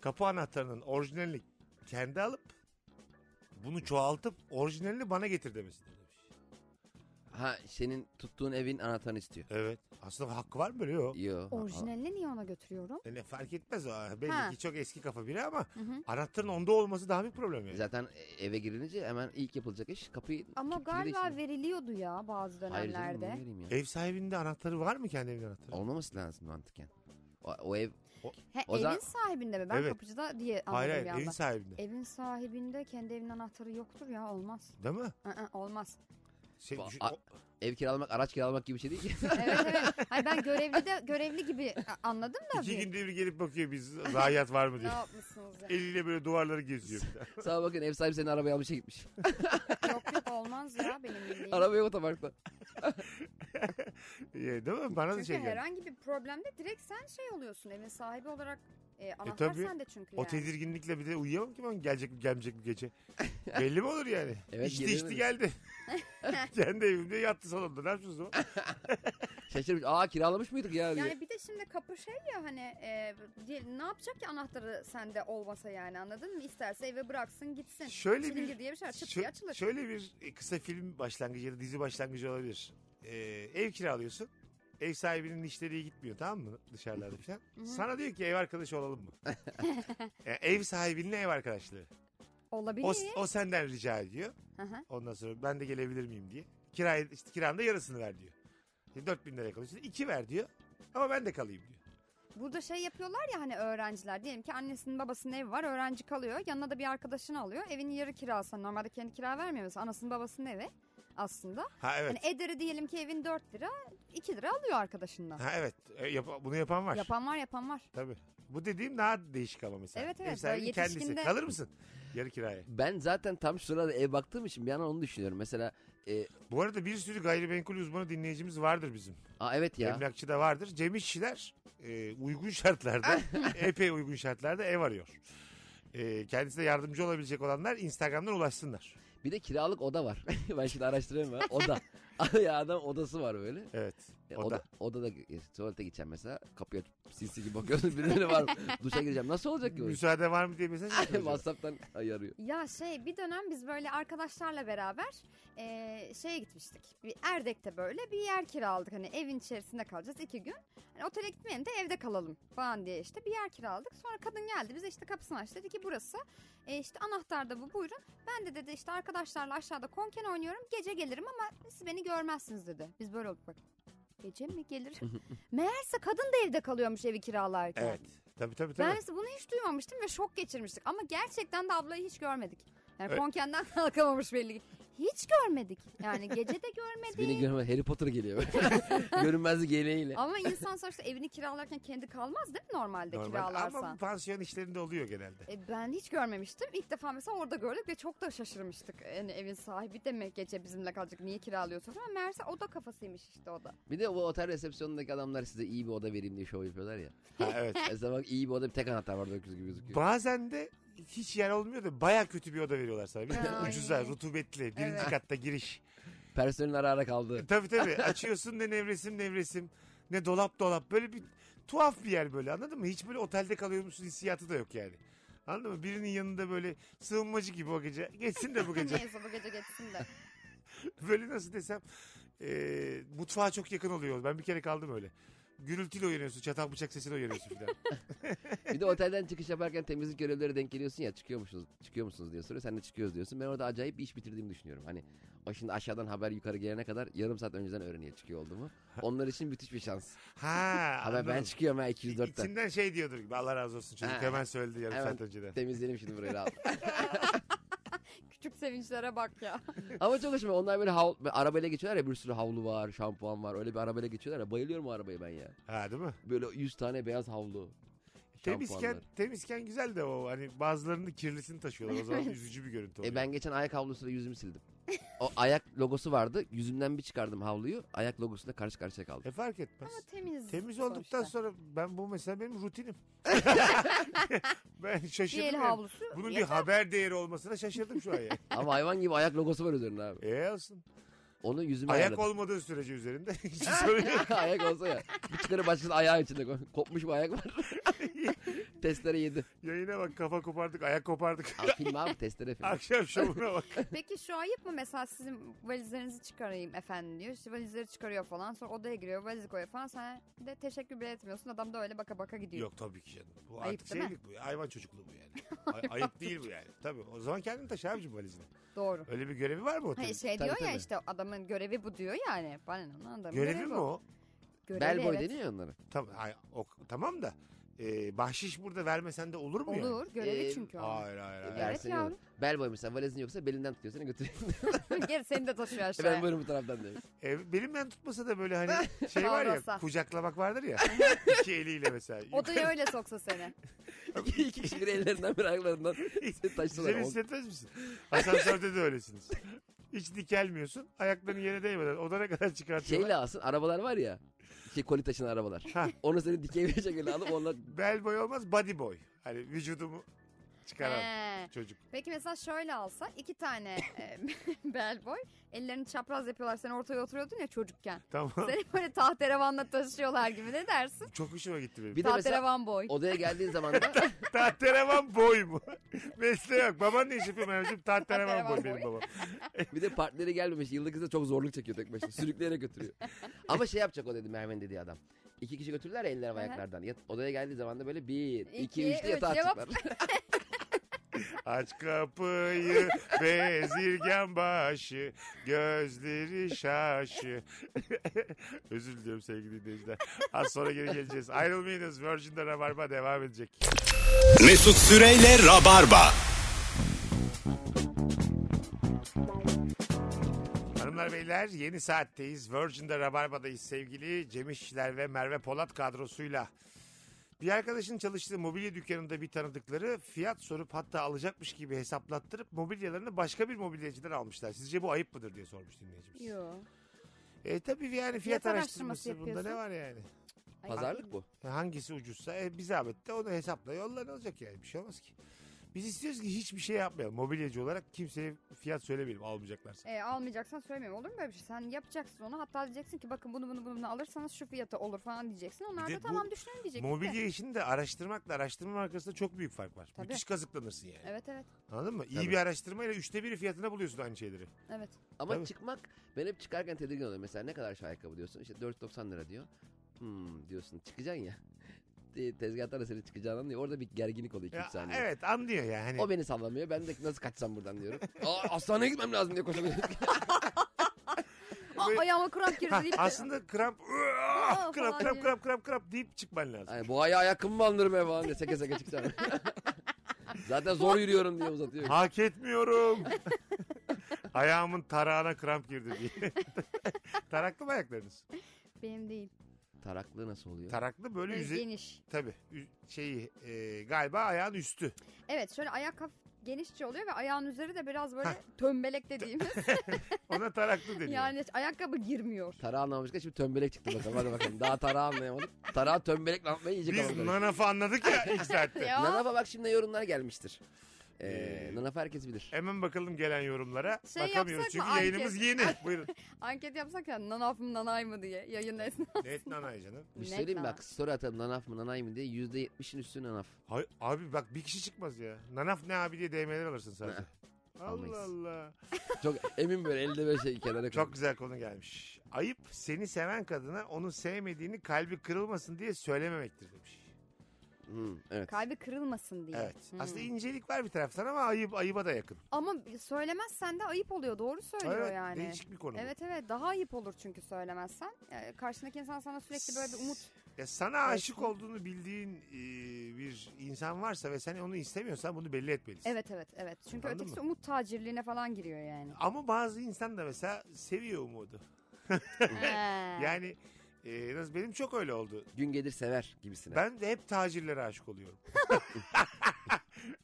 kapı anahtarının orijinalini kendi alıp bunu çoğaltıp orijinalini bana getir demesidir demiş.
Ha senin tuttuğun evin anahtarını istiyor.
Evet. Aslında hakkı var mı böyle yok.
Yo.
Orijinalini niye ona götürüyorum?
E Ne fark etmez o. Belli
Ha.
ki çok eski kafa biri ama
hı.
anahtarın onda olması daha büyük problem yani.
Zaten eve girince hemen ilk yapılacak iş kapıyı
Ama
kilidi değiştirmek.
galiba veriliyordu ya bazı
Hayır canım,
dönemlerde.
niye vereyim ya?
Ev sahibinin de anahtarı var mı kendi evinin anahtarı?
Olmaması lazım mantıken. O, o ev
He,
O
evin
zaman-
sahibinde mi? Ben
Evet.
kapıcıda diye anladım
hayır
bir
hayır
anda.
evin sahibinde.
Evin sahibinde kendi evin anahtarı yoktur ya olmaz.
Değil mi?
Aa, olmaz.
Şey,
Ba-
düşün-
a-
o-
ev kiralamak, araç kiralamak gibi bir şey değil ki.
Evet evet. Hayır, ben görevli de görevli gibi a- anladım da
iki
bir.
günde bir gelip bakıyor biz zayiat var mı
Ne
diye.
yapmışsınız ya?
Eliyle böyle duvarları geziyor. bir de.
Sağa bakın ev sahibi senin arabaya almışa gitmiş.
yok yok olmaz ya benim bildiğim.
Arabaya otoparkta.
E, Değil mi? Bana da
Çünkü
şey geldi.
herhangi bir problemde direkt sen şey oluyorsun evin sahibi olarak e, anahtar
tabii.
sende çünkü
O
yani.
tedirginlikle bir de uyuyamam ki ben gelecek mi gelmeyecek mi gece. Belli mi olur yani?
Evet,
içti
gelemedim.
içti geldi. kendi evimde yattı salonda. Ne yapıyorsunuz o?
Şaşırmış. Aa kiralamış mıydık ya? diye.
Yani bir de şimdi kapı şey ya hani e, diye- ne yapacak ki anahtarı sende olmasa yani anladın mı? İsterse eve bıraksın gitsin.
Şöyle bir-
Çilingir diye bir şey var, çıt
Şö-
diye açılır.
Şöyle bir e, kısa film başlangıcı ya da dizi başlangıcı olabilir. Ee, ev kiralıyorsun. Ev sahibinin işleri iyi gitmiyor tamam mı dışarılarda falan.
Hı hı.
Sana diyor ki ev arkadaşı olalım mı? Yani ev sahibinin ev arkadaşlığı.
Olabilir.
O, o senden rica ediyor.
Ee? Hı hı.
Ondan sonra ben de gelebilir miyim diye. Kirayı, işte kiranın da yarısını ver diyor. İşte 4000 liraya kalıyorsun. 2 ver diyor. Ama ben de kalayım diyor.
Burada şey yapıyorlar ya hani öğrenciler diyelim ki annesinin babasının evi var öğrenci kalıyor yanına da bir arkadaşını alıyor evin yarı kirası normalde kendi kira vermiyor mesela anasının babasının evi aslında.
Ha evet.
Hani ederi diyelim ki evin 4 lira 2 lira alıyor arkadaşından.
Ha evet. E, yap- bunu yapan var.
Yapan var yapan var.
Tabii. Bu dediğim daha değişik ama mesela.
Evet,
Ev
evet.
sahibinin
Böyle
kendisi.
yetişkinde-
Kalır mısın? Yarı kiraya.
Ben zaten tam şu sırada ev baktığım için bir an onu düşünüyorum. Mesela e,
Bu arada bir sürü gayrimenkul uzmanı dinleyicimiz vardır bizim.
aa evet ya.
Emlakçı da vardır. Cem İşçiler e, uygun şartlarda, epey uygun şartlarda ev arıyor. E, kendisine yardımcı olabilecek olanlar Instagram'dan ulaşsınlar.
Bir de kiralık oda var. ben şimdi araştırıyorum ya. Oda. ya adam odası var böyle.
Evet.
E,
Oda.
oda. Odada e, tuvalete gideceğim mesela. Kapıya sinsi gibi bakıyorsun. Birileri var. mı? Duşa gireceğim. Nasıl olacak ki bu? iş?
Müsaade var mı diye mesaj atıyor acaba.
WhatsApp'tan ayarıyor.
Ya şey bir dönem biz böyle arkadaşlarla beraber eee, şeye gitmiştik. Bir Erdek'te böyle bir yer kiraladık. Hani evin içerisinde kalacağız iki gün. Hani otele gitmeyelim de evde kalalım falan diye işte bir yer kiraladık. Sonra kadın geldi bize işte kapısını açtı. Dedi ki burası e, işte anahtar da bu buyurun. Ben de dedi işte arkadaşlarla aşağıda konken oynuyorum. Gece gelirim ama siz beni görmezsiniz dedi. Biz böyle olduk bak. Gece mi gelir? Meğerse kadın da evde kalıyormuş evi kiralarken.
Evet. Tabii tabii tabii.
Ben mesela bunu hiç duymamıştım ve şok geçirmiştik. Ama gerçekten de ablayı hiç görmedik. Yani
Evet.
konkenden kalkamamış belli ki. Hiç görmedik. Yani gece de
Siz Beni
görmedik.
görme Harry Potter geliyor. böyle. Görünmezlik yeleğiyle.
Ama insan sonuçta evini kiralarken kendi kalmaz değil mi normalde
Normal.
kiralarsan?
Ama bu pansiyon işlerinde oluyor genelde.
E, ben hiç görmemiştim. İlk defa mesela orada gördük ve çok da şaşırmıştık. Yani evin sahibi demek gece bizimle kalacak. Niye kiralıyorsunuz? Ama meğerse o da kafasıymış işte o da.
Bir de bu otel resepsiyonundaki adamlar size iyi bir oda vereyim diye şov yapıyorlar ya.
Ha, evet.
Mesela bak iyi bir oda bir tek anahtar var 900 gibi gözüküyor.
Bazen de hiç yer olmuyor da baya kötü bir oda veriyorlar sana. Bir de
Ay.
ucuza, rutubetli, birinci
Evet.
katta giriş.
Personelin ara ara kaldı.
Tabii tabii açıyorsun da nevresim nevresim. ne dolap dolap. Böyle bir tuhaf bir yer böyle anladın mı? Hiç böyle otelde kalıyormuşsun hissiyatı da yok yani. Anladın mı? Birinin yanında böyle sığınmacı gibi o gece. Geçsin de bu gece.
Neyse bu gece geçsin de.
böyle nasıl desem. E, mutfağa çok yakın oluyor. Ben bir kere kaldım öyle. Gürültüyle uyanıyorsun. Çatal bıçak sesiyle uyanıyorsun filan.
Bir de otelden çıkış yaparken temizlik görevlileri denk geliyorsun ya çıkıyor musunuz, çıkıyor musunuz diye soruyor. Sen de çıkıyoruz diyorsun. Ben orada acayip bir iş bitirdiğimi düşünüyorum. Hani o şimdi aşağıdan haber yukarı gelene kadar yarım saat önceden öğreniyor çıkıyor olduğumu. Onlar için müthiş bir şans.
Ha.
Ama ben
anladım.
çıkıyorum ha 204'ten.
İçinden şey diyordur gibi. Allah razı olsun çocuk
Ha.
hemen söyledi yarım
Hemen.
saat önceden.
Temizleyelim şimdi burayı rahat.
Küçük sevinçlere bak ya.
Ama çalışma onlar böyle havlu, böyle arabayla geçiyorlar ya bir sürü havlu var, şampuan var. Öyle bir arabayla geçiyorlar ya bayılıyorum o arabayı ben ya.
Ha değil mi?
Böyle 100 tane beyaz havlu.
Temizken,
şampuanlar.
temizken güzel de o. Hani bazılarının kirlisini taşıyorlar. O zaman üzücü bir görüntü oluyor.
E ben geçen ayak havlusuyla yüzümü sildim. O ayak logosu vardı. Yüzümden bir çıkardım havluyu. Ayak logosuyla karşı karşıya kaldım.
E fark etmez.
Ama temiz.
Temiz
sonuçta.
olduktan sonra ben bu mesela benim rutinim. ben
Bir
şaşırdım.
el
yani.
havlusu.
şey Bunun bir haber değeri olmasına şaşırdım şu an yani.
Ama hayvan gibi ayak logosu var üzerinde abi.
E olsun.
Onu yüzüme
Ayak
ayarladım.
olmadığı sürece üzerinde. Hiç sorun yok.
ayak olsa ya. Bir çıkarıp başkasının ayağı içinde. ko- Kopmuş bir ayak var. testere yedi.
Yayına bak kafa kopardık, ayak kopardık.
Al, film abi testere film.
Akşam şovuna bak.
Peki şu ayıp mı mesela sizin valizlerinizi çıkarayım efendim diyor. İşte valizleri çıkarıyor falan. Sonra odaya giriyor valizi koyuyor falan. Sen de teşekkür bile etmiyorsun. Adam da öyle baka baka gidiyor.
Yok tabii ki canım. Bu
Ayıp
artık
değil mi?
şeylik bu. Hayvan çocukluğu bu yani. Ay- ayıp değil bu yani. Tabii. O zaman kendin taşı abicim valizini.
Doğru.
Öyle bir görevi var mı otelin?
Hayır şey
Tabii,
diyor ya
tabii.
işte adamın görevi bu diyor yani. Bana ne lan adamın
Görevi mi o?
Görevi,
Bel boy
evet.
deniyor ya onlara.
Tamam, ay- o, tamam da e, bahşiş burada vermesen de olur mu yani?
Olur. Görevi
Ee,
çünkü o.
Hayır hayır hayır.
Evet
Versene
yavrum.
onu. Bel boy mesela valizin yoksa belinden tutuyor seni götürüyor.
Geri seni de taşıyor
ben
aşağıya.
buyurun bu taraftan diyor.
E, benim ben tutmasa da böyle hani şey var ya
Kavrasa.
kucaklamak vardır ya. iki eliyle mesela.
Odaya öyle soksa seni.
İki, iki kişi bir ellerinden bir ayaklarından seni taştılar.
Güzel hissetmez misin? Asansörde de öylesiniz. Hiç dikelmiyorsun. Ayakların yere değmeden odana kadar çıkartıyorlar.
Şeyle alsın şey arabalar var ya. Şey koli taşıyan arabalar.
Ha.
Onu seni dikey bir şekilde alıp onunla
Bel boy olmaz body boy. Hani vücudumu çıkaran
He.
çocuk.
Peki mesela şöyle alsa iki tane e, bel boy ellerini çapraz yapıyorlar. Sen ortaya oturuyordun ya çocukken.
Tamam.
Seni böyle tahterevanla taşıyorlar gibi ne dersin?
Çok hoşuma gitti benim.
Bir de mesela
Tahterevan boy.
odaya geldiğin zaman da
Tahterevan boy mu? Mesleği yok. Baban ne iş yapıyor Mehmetciğim? Tahterevan boy
Tahterevan
benim babam.
boy.
bir de partneri gelmemiş. Yıllık kız da çok zorluk çekiyor tek başına. Sürükleyerek götürüyor. Ama şey yapacak o dedi Merve'nin dediği adam. İki kişi götürürler ya eller
Aha.
ve ayaklardan. Yat- odaya geldiği zaman da böyle bir, iki,
İki,
üç diye yatağa
üç, cevap.
atacaklar.
Aç kapıyı bezirgen başı gözleri şaşı. Özür diliyorum sevgili dinleyiciler. Az sonra geri geleceğiz. Ayrılmayınız. Virgin'de Rabarba devam edecek.
Mesut Süreyle Rabarba.
Hanımlar beyler yeni saatteyiz. Virgin'de Rabarba'dayız sevgili Cem İşçiler ve Merve Polat kadrosuyla. Bir arkadaşın çalıştığı mobilya dükkanında bir tanıdıkları fiyat sorup hatta alacakmış gibi hesaplattırıp mobilyalarını başka bir mobilyacıdan almışlar. Sizce bu ayıp mıdır diye sormuş dinleyicimiz.
Yo.
E tabii yani fiyat,
Fiyat
araştırması,
araştırması
bunda ne
yapıyorsun.
var yani?
Ay,
Pazarlık bu.
E, Hangisi ucuzsa e, bir zahmet de onu hesapla yolla ne olacak yani bir şey olmaz ki. Biz istiyoruz ki hiçbir şey yapmayalım. Mobilyacı olarak kimseye fiyat söylemeyelim almayacaklarsa.
E, almayacaksan söylemiyorum olur mu böyle bir şey? Sen yapacaksın onu hatta diyeceksin ki bakın bunu bunu bunu bunu alırsanız şu fiyata olur falan diyeceksin. Onlar
Bir de
da
bu
tamam düşünün diyecek.
Mobilya işini de araştırmakla araştırma arasında çok büyük fark var.
Tabii.
Müthiş kazıklanırsın yani.
Evet evet
Anladın mı? İyi
Tabii.
bir araştırmayla üçte biri fiyatına buluyorsun aynı şeyleri.
evet.
Ama
Tabii.
çıkmak ben hep çıkarken tedirgin oluyorum. Mesela ne kadar şu ayakkabı diyorsun? İşte 4.90 lira diyor. Hmm diyorsun çıkacaksın ya. Te- Tezgahtan da seni çıkacağını anlıyor. Orada bir gerginlik oluyor 2
Ya,
saniye.
evet anlıyor yani. Hani
O beni sallamıyor. Ben de nasıl kaçsam buradan diyorum. Aa, hastaneye gitmem lazım diye koşamıyorum.
Aa,
Böyle-
ayağıma kramp
Ha,
girdi deyip de-
aslında kramp,
Aa,
kramp,
falan
kramp,
diye.
kramp, kramp, kramp deyip çıkman lazım.
Hani bu ayağı ayakkabı mı bandırmaya falan diye seke seke çıkacağım. Zaten zor yürüyorum diye uzatıyor.
Hak etmiyorum. Ayağımın tarağına kramp girdi diye. Taraklı mı ayaklarınız?
Benim değil.
Taraklı nasıl oluyor?
Taraklı böyle
Böyle
yüzey...
geniş.
Tabii ü- şeyi e, galiba ayağın üstü.
Evet şöyle ayak hafif genişçe oluyor ve ayağın üzeri de biraz böyle tömbelek dediğimiz.
Ona taraklı deniyor.
yani ayakkabı girmiyor.
Tarağı anlamışken şimdi tömbelek çıktı bakalım. Hadi bakalım. Daha tarağı anlayamadım. Tarağı tömbelekle anlatmayı iyice
Biz
kavgalar.
nanafı anladık ya ilk saatte.
Ya.
Nanava bak şimdi yorumlar gelmiştir. Ee, Nanaf herkes bilir.
Hemen bakalım gelen yorumlara.
Şey
Bakamıyoruz
yapsak
çünkü
mı?
yayınımız
Anket.
yeni. Buyurun.
Anket yapsak ya nanaf mı nanay mı diye yayın esnasında.
Net nanay canım.
Bir şey
Net
söyleyeyim mi?
nanaf.
bak story atalım nanaf mı nanay mı diye %70'in üstü nanaf.
Hay- abi bak bir kişi çıkmaz ya. Nanaf ne abi diye DM'ler alırsın sadece.
almayız.
Allah Allah.
Çok emin böyle elde böyle şey kenara
Çok güzel konu gelmiş. Ayıp seni seven kadına onun sevmediğini kalbi kırılmasın diye söylememektir demiş.
Hı, Hmm, evet.
Kalbi kırılmasın diye.
Evet.
Hmm.
Aslında incelik var bir taraftan ama ayıp ayıba da yakın.
Ama söylemezsen de ayıp oluyor. Doğru söylüyor
evet,
yani.
Değişik bir konu. bu.
Evet evet daha ayıp olur çünkü söylemezsen. Ee, karşındaki insan sana sürekli böyle bir umut.
Ya sana aşık olduğunu bildiğin e, bir insan varsa ve sen onu istemiyorsan bunu belli etmelisin.
Evet evet evet. Çünkü
Anladın
ötekisi
mı?
umut tacirliğine falan giriyor yani.
Ama bazı insan da mesela seviyor umudu.
Ee,
Yani e, nasıl benim çok öyle oldu.
Gün gelir sever gibisine.
Ben de hep tacirlere aşık oluyorum.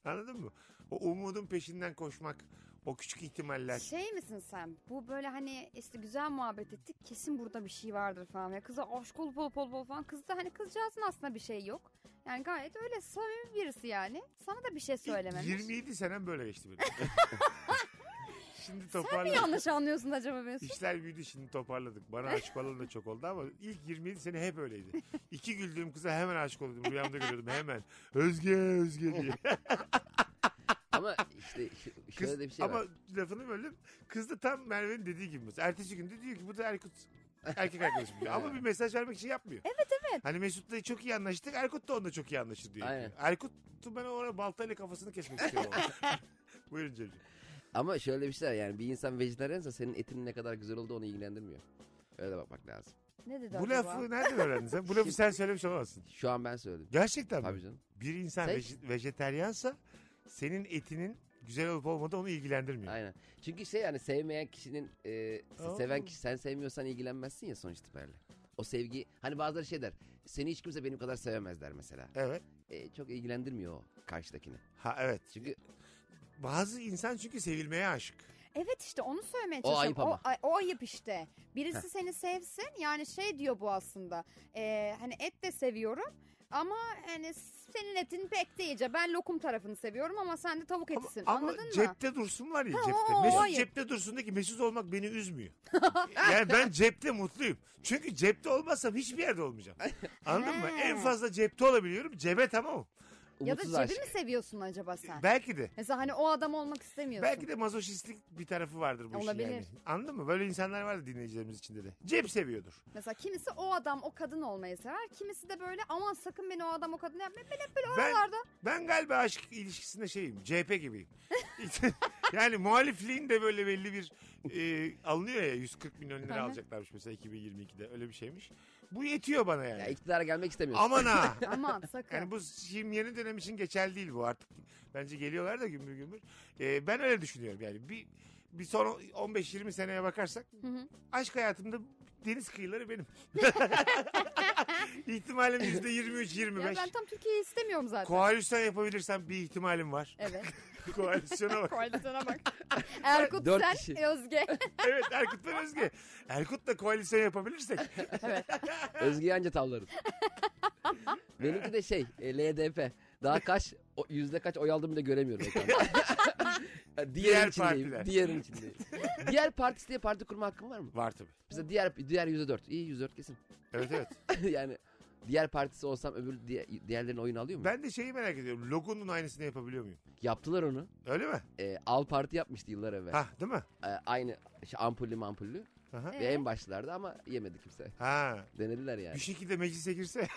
Anladın mı? O umudun peşinden koşmak, o küçük ihtimaller.
şey misin sen? Bu böyle hani işte güzel muhabbet ettik. Kesin burada bir şey vardır falan. Ya kıza aşk olup olup olup olup falan. Kız da hani kızcağızın aslında bir şey yok. Yani gayet öyle samimi birisi yani. Sana da bir şey
İlk
söylememiş.
27 senem böyle geçti benim. şimdi
Sen mi
toparladık.
yanlış anlıyorsun acaba Mesut?
İşler büyüdü şimdi toparladık. Bana aşık olan da çok oldu ama ilk 27 sene hep öyleydi. İki güldüğüm kıza hemen aşık oluyordum. Rüyamda görüyordum hemen. Özge, Özge diye.
Ama işte ş- Oh, şöyle
Kız,
de bir şey
ama
var.
lafını böldüm. Kız da tam Merve'nin dediği gibi. mesela. Ertesi gün de diyor ki bu da Erkut erkek arkadaşım diyor. ama bir mesaj vermek için yapmıyor. Evet evet. Hani Mesut'la çok iyi anlaştık. Erkut da onunla çok iyi anlaşır diyor.
Aynen.
Erkut'u ben oraya baltayla kafasını kesmek istiyorum. Buyurun Cemciğim.
Ama şöyle bir şey var yani bir insan vejetaryense senin etinin ne kadar güzel olduğu onu ilgilendirmiyor. Öyle de bakmak lazım.
Ne dedi
Bu
acaba?
lafı nereden öğrendin sen? Bu lafı sen söylemiş olamazsın.
Şu an ben söyledim.
Gerçekten mi?
Tabii canım.
bir insan
Şey-
Tek-
veje- vejeteryansa senin etinin güzel olup olmadığı onu ilgilendirmiyor.
Aynen. Çünkü şey yani sevmeyen kişinin e,
Aa.
seven kişi sen sevmiyorsan ilgilenmezsin ya sonuç itibariyle. O sevgi hani bazıları şey der. Seni hiç kimse benim kadar sevemez der mesela.
Evet.
E, çok ilgilendirmiyor o karşıdakini.
Ha evet.
Çünkü
Bazı insan çünkü sevilmeye aşık.
Evet işte onu söylemeye
O
çalışıyorum.
ayıp ama.
ay- O, ayıp işte. Birisi seni sevsin yani şey diyor bu aslında. Ee, hani et de seviyorum ama hani senin etin pek değilce. Ben lokum tarafını seviyorum ama sen de tavuk
Ama,
etisin.
ama
Anladın mı?
cepte dursun var ya
Ha,
cepte.
o- o
Mesut
hayır.
cepte dursun de ki Mesut olmak beni üzmüyor. yani ben cepte mutluyum. Çünkü cepte olmazsam hiçbir yerde olmayacağım. Anladın mı?
Ha.
En fazla cepte olabiliyorum. Cebe tamam.
Ya da
umutsuz
cebi
aşk.
mi seviyorsun acaba sen?
Belki de.
Mesela hani o adam olmak istemiyorsun.
Belki de mazoşistlik bir tarafı vardır bu
Olabilir.
işin yani. Anladın mı? Böyle insanlar vardı dinleyicilerimiz içinde de. Cep seviyordur.
Mesela kimisi o adam o kadın olmayı sever. Kimisi de böyle aman sakın beni o adam o kadın yapmayın. Ben hep böyle
Ben-
oralarda.
Ben galiba aşk ilişkisinde şeyim. CHP gibiyim. yani muhalifliğin de böyle belli bir e, alınıyor ya 140 milyon lira
Aha.
alacaklarmış mesela 2022'de öyle bir şeymiş. Bu yetiyor bana yani.
Ya iktidara gelmek istemiyorsun.
Aman ha.
Aman sakın.
Yani bu şimdi yeni dönem için geçerli değil bu artık. Bence geliyorlar da gümbür gümbür. E, ben öyle düşünüyorum yani. Bir bir son 15-20 seneye bakarsak
Hı hı.
aşk hayatımda deniz kıyıları benim. İhtimalim %23-25.
Ya ben tam Türkiye'yi istemiyorum zaten.
Koalisyon yapabilirsem bir ihtimalim var.
evet.
Koalisyona bak.
Koalisyona bak. Erkut
Dört
sen
kişi.
Özge.
Evet Erkut ve Özge. Erkut'la koalisyon yapabilirsek.
Özgü Yanca tavlarım. Benimki de şey e, LDP. Daha kaç o, yüzde kaç oy aldığımı da göremiyorum ekranda.
Diğer
Ya diğerin içindeyim.
partiler.
Diğerin içindeyim. diğer partisi diye parti kurma hakkım var mı?
Var tabii.
Mesela diğer diğer yüzde dört. İyi yüzde dört kesin.
Evet evet.
yani diğer partisi olsam öbür diğer, diğerlerinin oyunu alıyor mu?
Ben de şeyi merak ediyorum. Logonun aynısını yapabiliyor muyum?
Yaptılar onu.
Öyle mi?
E, Al Parti yapmıştı yıllar evvel.
Ha değil mi?
E, aynı şey, ampullü mampullü.
Aha.
Ee,
Ve en başlarda ama yemedi kimse.
Ha.
Denediler
Bir
yani.
şekilde meclise girse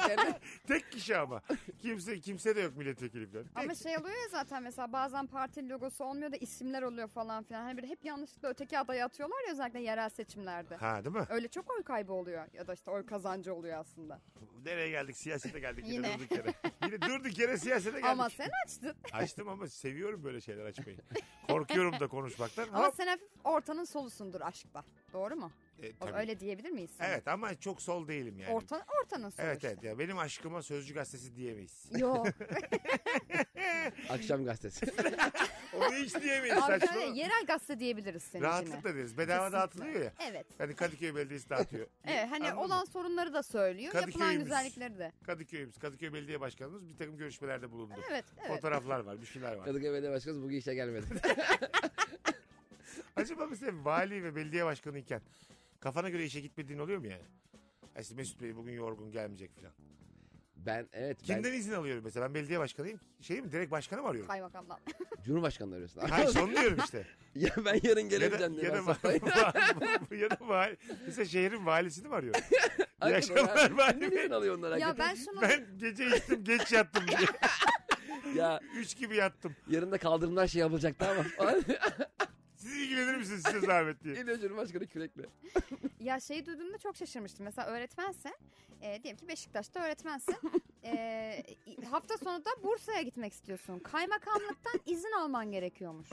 kendine.
tek kişi ama. Kimse kimse de yok milletvekili falan. Tek-
Ama şey oluyor ya zaten mesela bazen partinin logosu olmuyor da isimler oluyor falan filan. Hani böyle hep yanlışlıkla öteki adayı atıyorlar ya özellikle yerel seçimlerde.
Ha değil mi?
Öyle çok oy kaybı oluyor ya da işte oy kazancı oluyor aslında.
Nereye geldik? Siyasete geldik yine,
Yine.
durduk yere. Yine durduk yere siyasete geldik.
Ama sen açtın.
Açtım ama seviyorum böyle şeyler açmayı. Korkuyorum da konuşmaktan.
Ama
Hop.
sen hafif ortanın solusundur aşk solda. Doğru mu?
E,
O-
tabii.
Öyle diyebilir miyiz? sana?
Evet ama çok sol değilim yani.
Orta, ortanın sonuçta.
Evet evet ya benim aşkıma Sözcü Gazetesi diyemeyiz.
Yok.
Akşam gazetesi.
Onu hiç diyemeyiz
Abi
saçma.
şöyle yerel gazete diyebiliriz senin için.
Rahatlıkla deriz. Bedava dağıtılıyor ya.
Evet.
Hani Kadıköy Belediyesi dağıtıyor.
Evet hani
Anladın mı?
olan sorunları da söylüyor. Yapılan
Kadıköy'ümüz.
güzellikleri de.
Kadıköy'ümüz, Kadıköy Belediye Başkanımız bir takım görüşmelerde bulundu.
Evet evet.
Fotoğraflar var, bir şeyler var.
Kadıköy Belediye Başkanı bugün işe gelmedi.
Acaba mesela vali ve belediye başkanı iken kafana göre işe gitmediğin oluyor mu yani? Ay işte Mesut Bey bugün yorgun gelmeyecek falan.
Ben evet ben
Kimden izin alıyorum mesela? Ben belediye başkanıyım. Şey mi direkt başkanı mı arıyorum?
Kaymakamdan.
Cumhurbaşkanı'nı arıyorsun. abi.
Hayır onu diyorum işte.
ya ben yarın
ya da,
geleceğim diye.
ya da,
ben sabah-
vali- ya da vali, mesela şehrin valisini mi arıyorum? İyi
Hakikaten
akşamlar
ya.
vali bey.
Kimden alıyor onlar
ya ben
hakikaten?
şunu
Ben gece içtim geç yattım diye.
Ya
Üç gibi yattım.
yarın da kaldırımlar şey yapılacaktı ama.
Siz ilgilenir misiniz size zahmet diye.
İliyor Cumhurbaşkanı kürekle.
ya şeyi duyduğumda çok şaşırmıştım. Mesela öğretmense e, diyelim ki Beşiktaş'ta öğretmensin. e, hafta sonu da Bursa'ya gitmek istiyorsun. Kaymakamlıktan izin alman gerekiyormuş.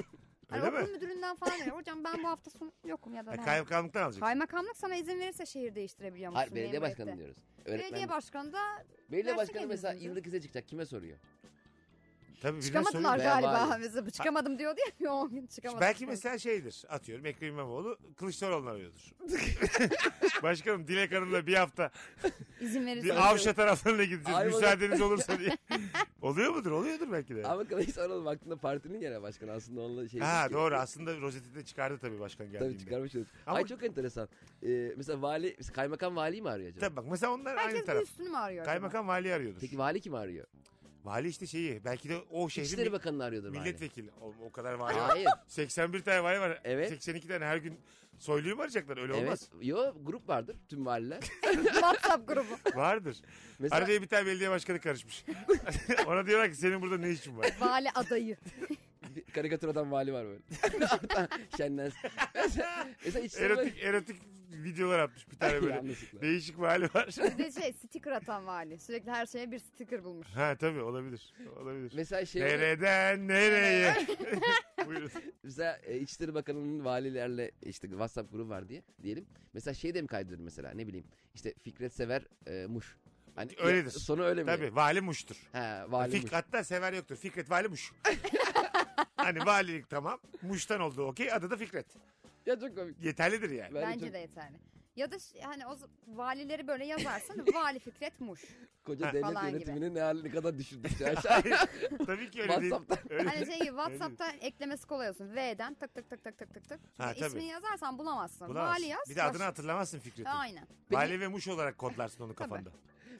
Hani
Öyle
okul
mi?
müdüründen falan diyor. Hocam ben bu hafta sonu yokum ya da.
Ha,
ben-
kaymakamlıktan alacaksın.
Kaymakamlık sana izin verirse şehir değiştirebiliyor musun?
Hayır belediye
memuriyette?
başkanı diyoruz. Öğretmen.
Belediye
Belediye,
başkanı da
başkanı
Gerçek
mesela
ediyoruz.
yıllık ize çıkacak. Kime soruyor?
Tabii birine
çıkamadılar
soruyor.
Veya
galiba.
bari.
Bizi çıkamadım diyordu ya. 10 gün çıkamadım.
Belki mesela şeydir atıyorum Ekrem İmamoğlu Kılıçdaroğlu'nu arıyordur. Başkanım Dilek Hanım'la bir hafta
İzin verirse.
bir Avşa taraflarına gideceğiz
Ayvalık.
müsaadeniz olursa diye. Oluyor mudur? Oluyordur belki de.
Ama Kılıçdaroğlu baktığında partinin genel başkanı aslında onunla şey.
ha
ki-
doğru aslında rozeti de çıkardı tabii başkan geldiğinde.
Tabii
Tabii
çıkarmışız.
Ama-
Ay çok enteresan. Ee, mesela vali, mesela kaymakam valiyi mi arıyor acaba?
bak mesela onlar aynı
Herkes bir
taraf.
üstünü mü arıyor? acaba?
Kaymakam vali arıyordur.
Peki vali kimi arıyor?
Vali işte şeyi belki de o şehrin
İçişleri
mi-
Bakanı'nı arıyordur vali.
milletvekili. O, o kadar vali var.
Hayır.
81 tane vali var.
Evet.
82 tane her gün soyluyu mu arayacaklar? Öyle olmaz.
evet. Yo grup vardır tüm valiler.
WhatsApp grubu.
Vardır.
Mesela
Arada bir tane belediye başkanı karışmış. Ona diyorlar ki senin burada ne işin var?
Vali adayı.
bir karikatür adam vali var böyle. Şenlensin. mesela, mesela İçişleri
erotik erotik videolar atmış bir tane böyle.
Yanlışlıkla.
Değişik bir hali var.
Bir de şey sticker atan vali. Sürekli her şeye bir sticker bulmuş.
ha tabii olabilir. Olabilir.
Mesela şey
Nereden nereye? Buyurun.
mesela e, İçişleri Bakanı'nın valilerle işte WhatsApp grubu var diye diyelim. Mesela şey de mi kaydedilir mesela ne bileyim işte Fikret Sever e, Muş. Hani
Öyledir.
Sonu öyle mi?
Tabii vali muştur.
He vali
Fik,
Muş.
hatta sever yoktur. Fikret vali muş. hani valilik tamam. Muş'tan oldu okey. Adı da Fikret.
Ya çok komik.
Yeterlidir yani.
Ben
Bence
çok-
de yeterli. Ya da ş- hani o z- valileri böyle yazarsın. Vali Fikret Muş.
Koca
Falan
devlet
gibi.
yönetimini ne haline kadar düşürdük ya. Aşağı-
Tabii ki öyle değil.
WhatsApp'tan.
Öyle
Hani
değil.
şey gibi, WhatsApp'ta eklemesi kolay olsun. V'den tık tık tık tık tık tık tık. Şimdi
Ha, tabii.
ismini yazarsan bulamazsın.
Hani
Bulamazsın.
Vali yaz.
Bir de adını
baş-
hatırlamazsın Fikret'i.
Aynen.
Vali ve muş olarak kodlarsın onu kafanda.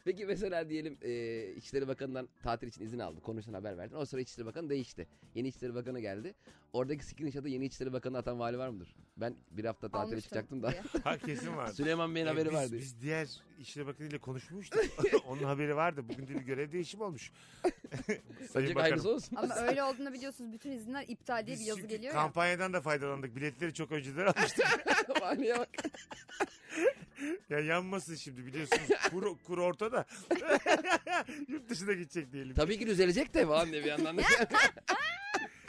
Peki mesela diyelim e, İçişleri Bakanı'ndan tatil için izin aldı. Konuştan haber verdin. O sıra İçişleri Bakanı değişti. Yeni İçişleri Bakanı geldi. Oradaki screenshot'ı yeni İçişleri Bakanı atan vali var mıdır? Ben bir hafta tatile
Almıştım
çıkacaktım da.
diye.
Ha kesin vardı.
Süleyman Bey'in
Ee,
haberi
biz,
vardı.
Biz diğer işle bakınıyla konuşmuştuk. Onun haberi vardı. Bugün de bir görev değişimi olmuş. Sayın
Önceki
Bakanım.
aynısı olsun.
Ama öyle olduğunu biliyorsunuz. Bütün izinler iptal diye bir
Biz
yazı
çünkü
geliyor ya.
kampanyadan da faydalandık. Biletleri çok önceden almıştık.
Valiye bak.
ya yanmasın şimdi biliyorsunuz. Kur, kur ortada. Yurt dışına gidecek diyelim.
Tabii ki düzelecek de falan diye bir yandan. da.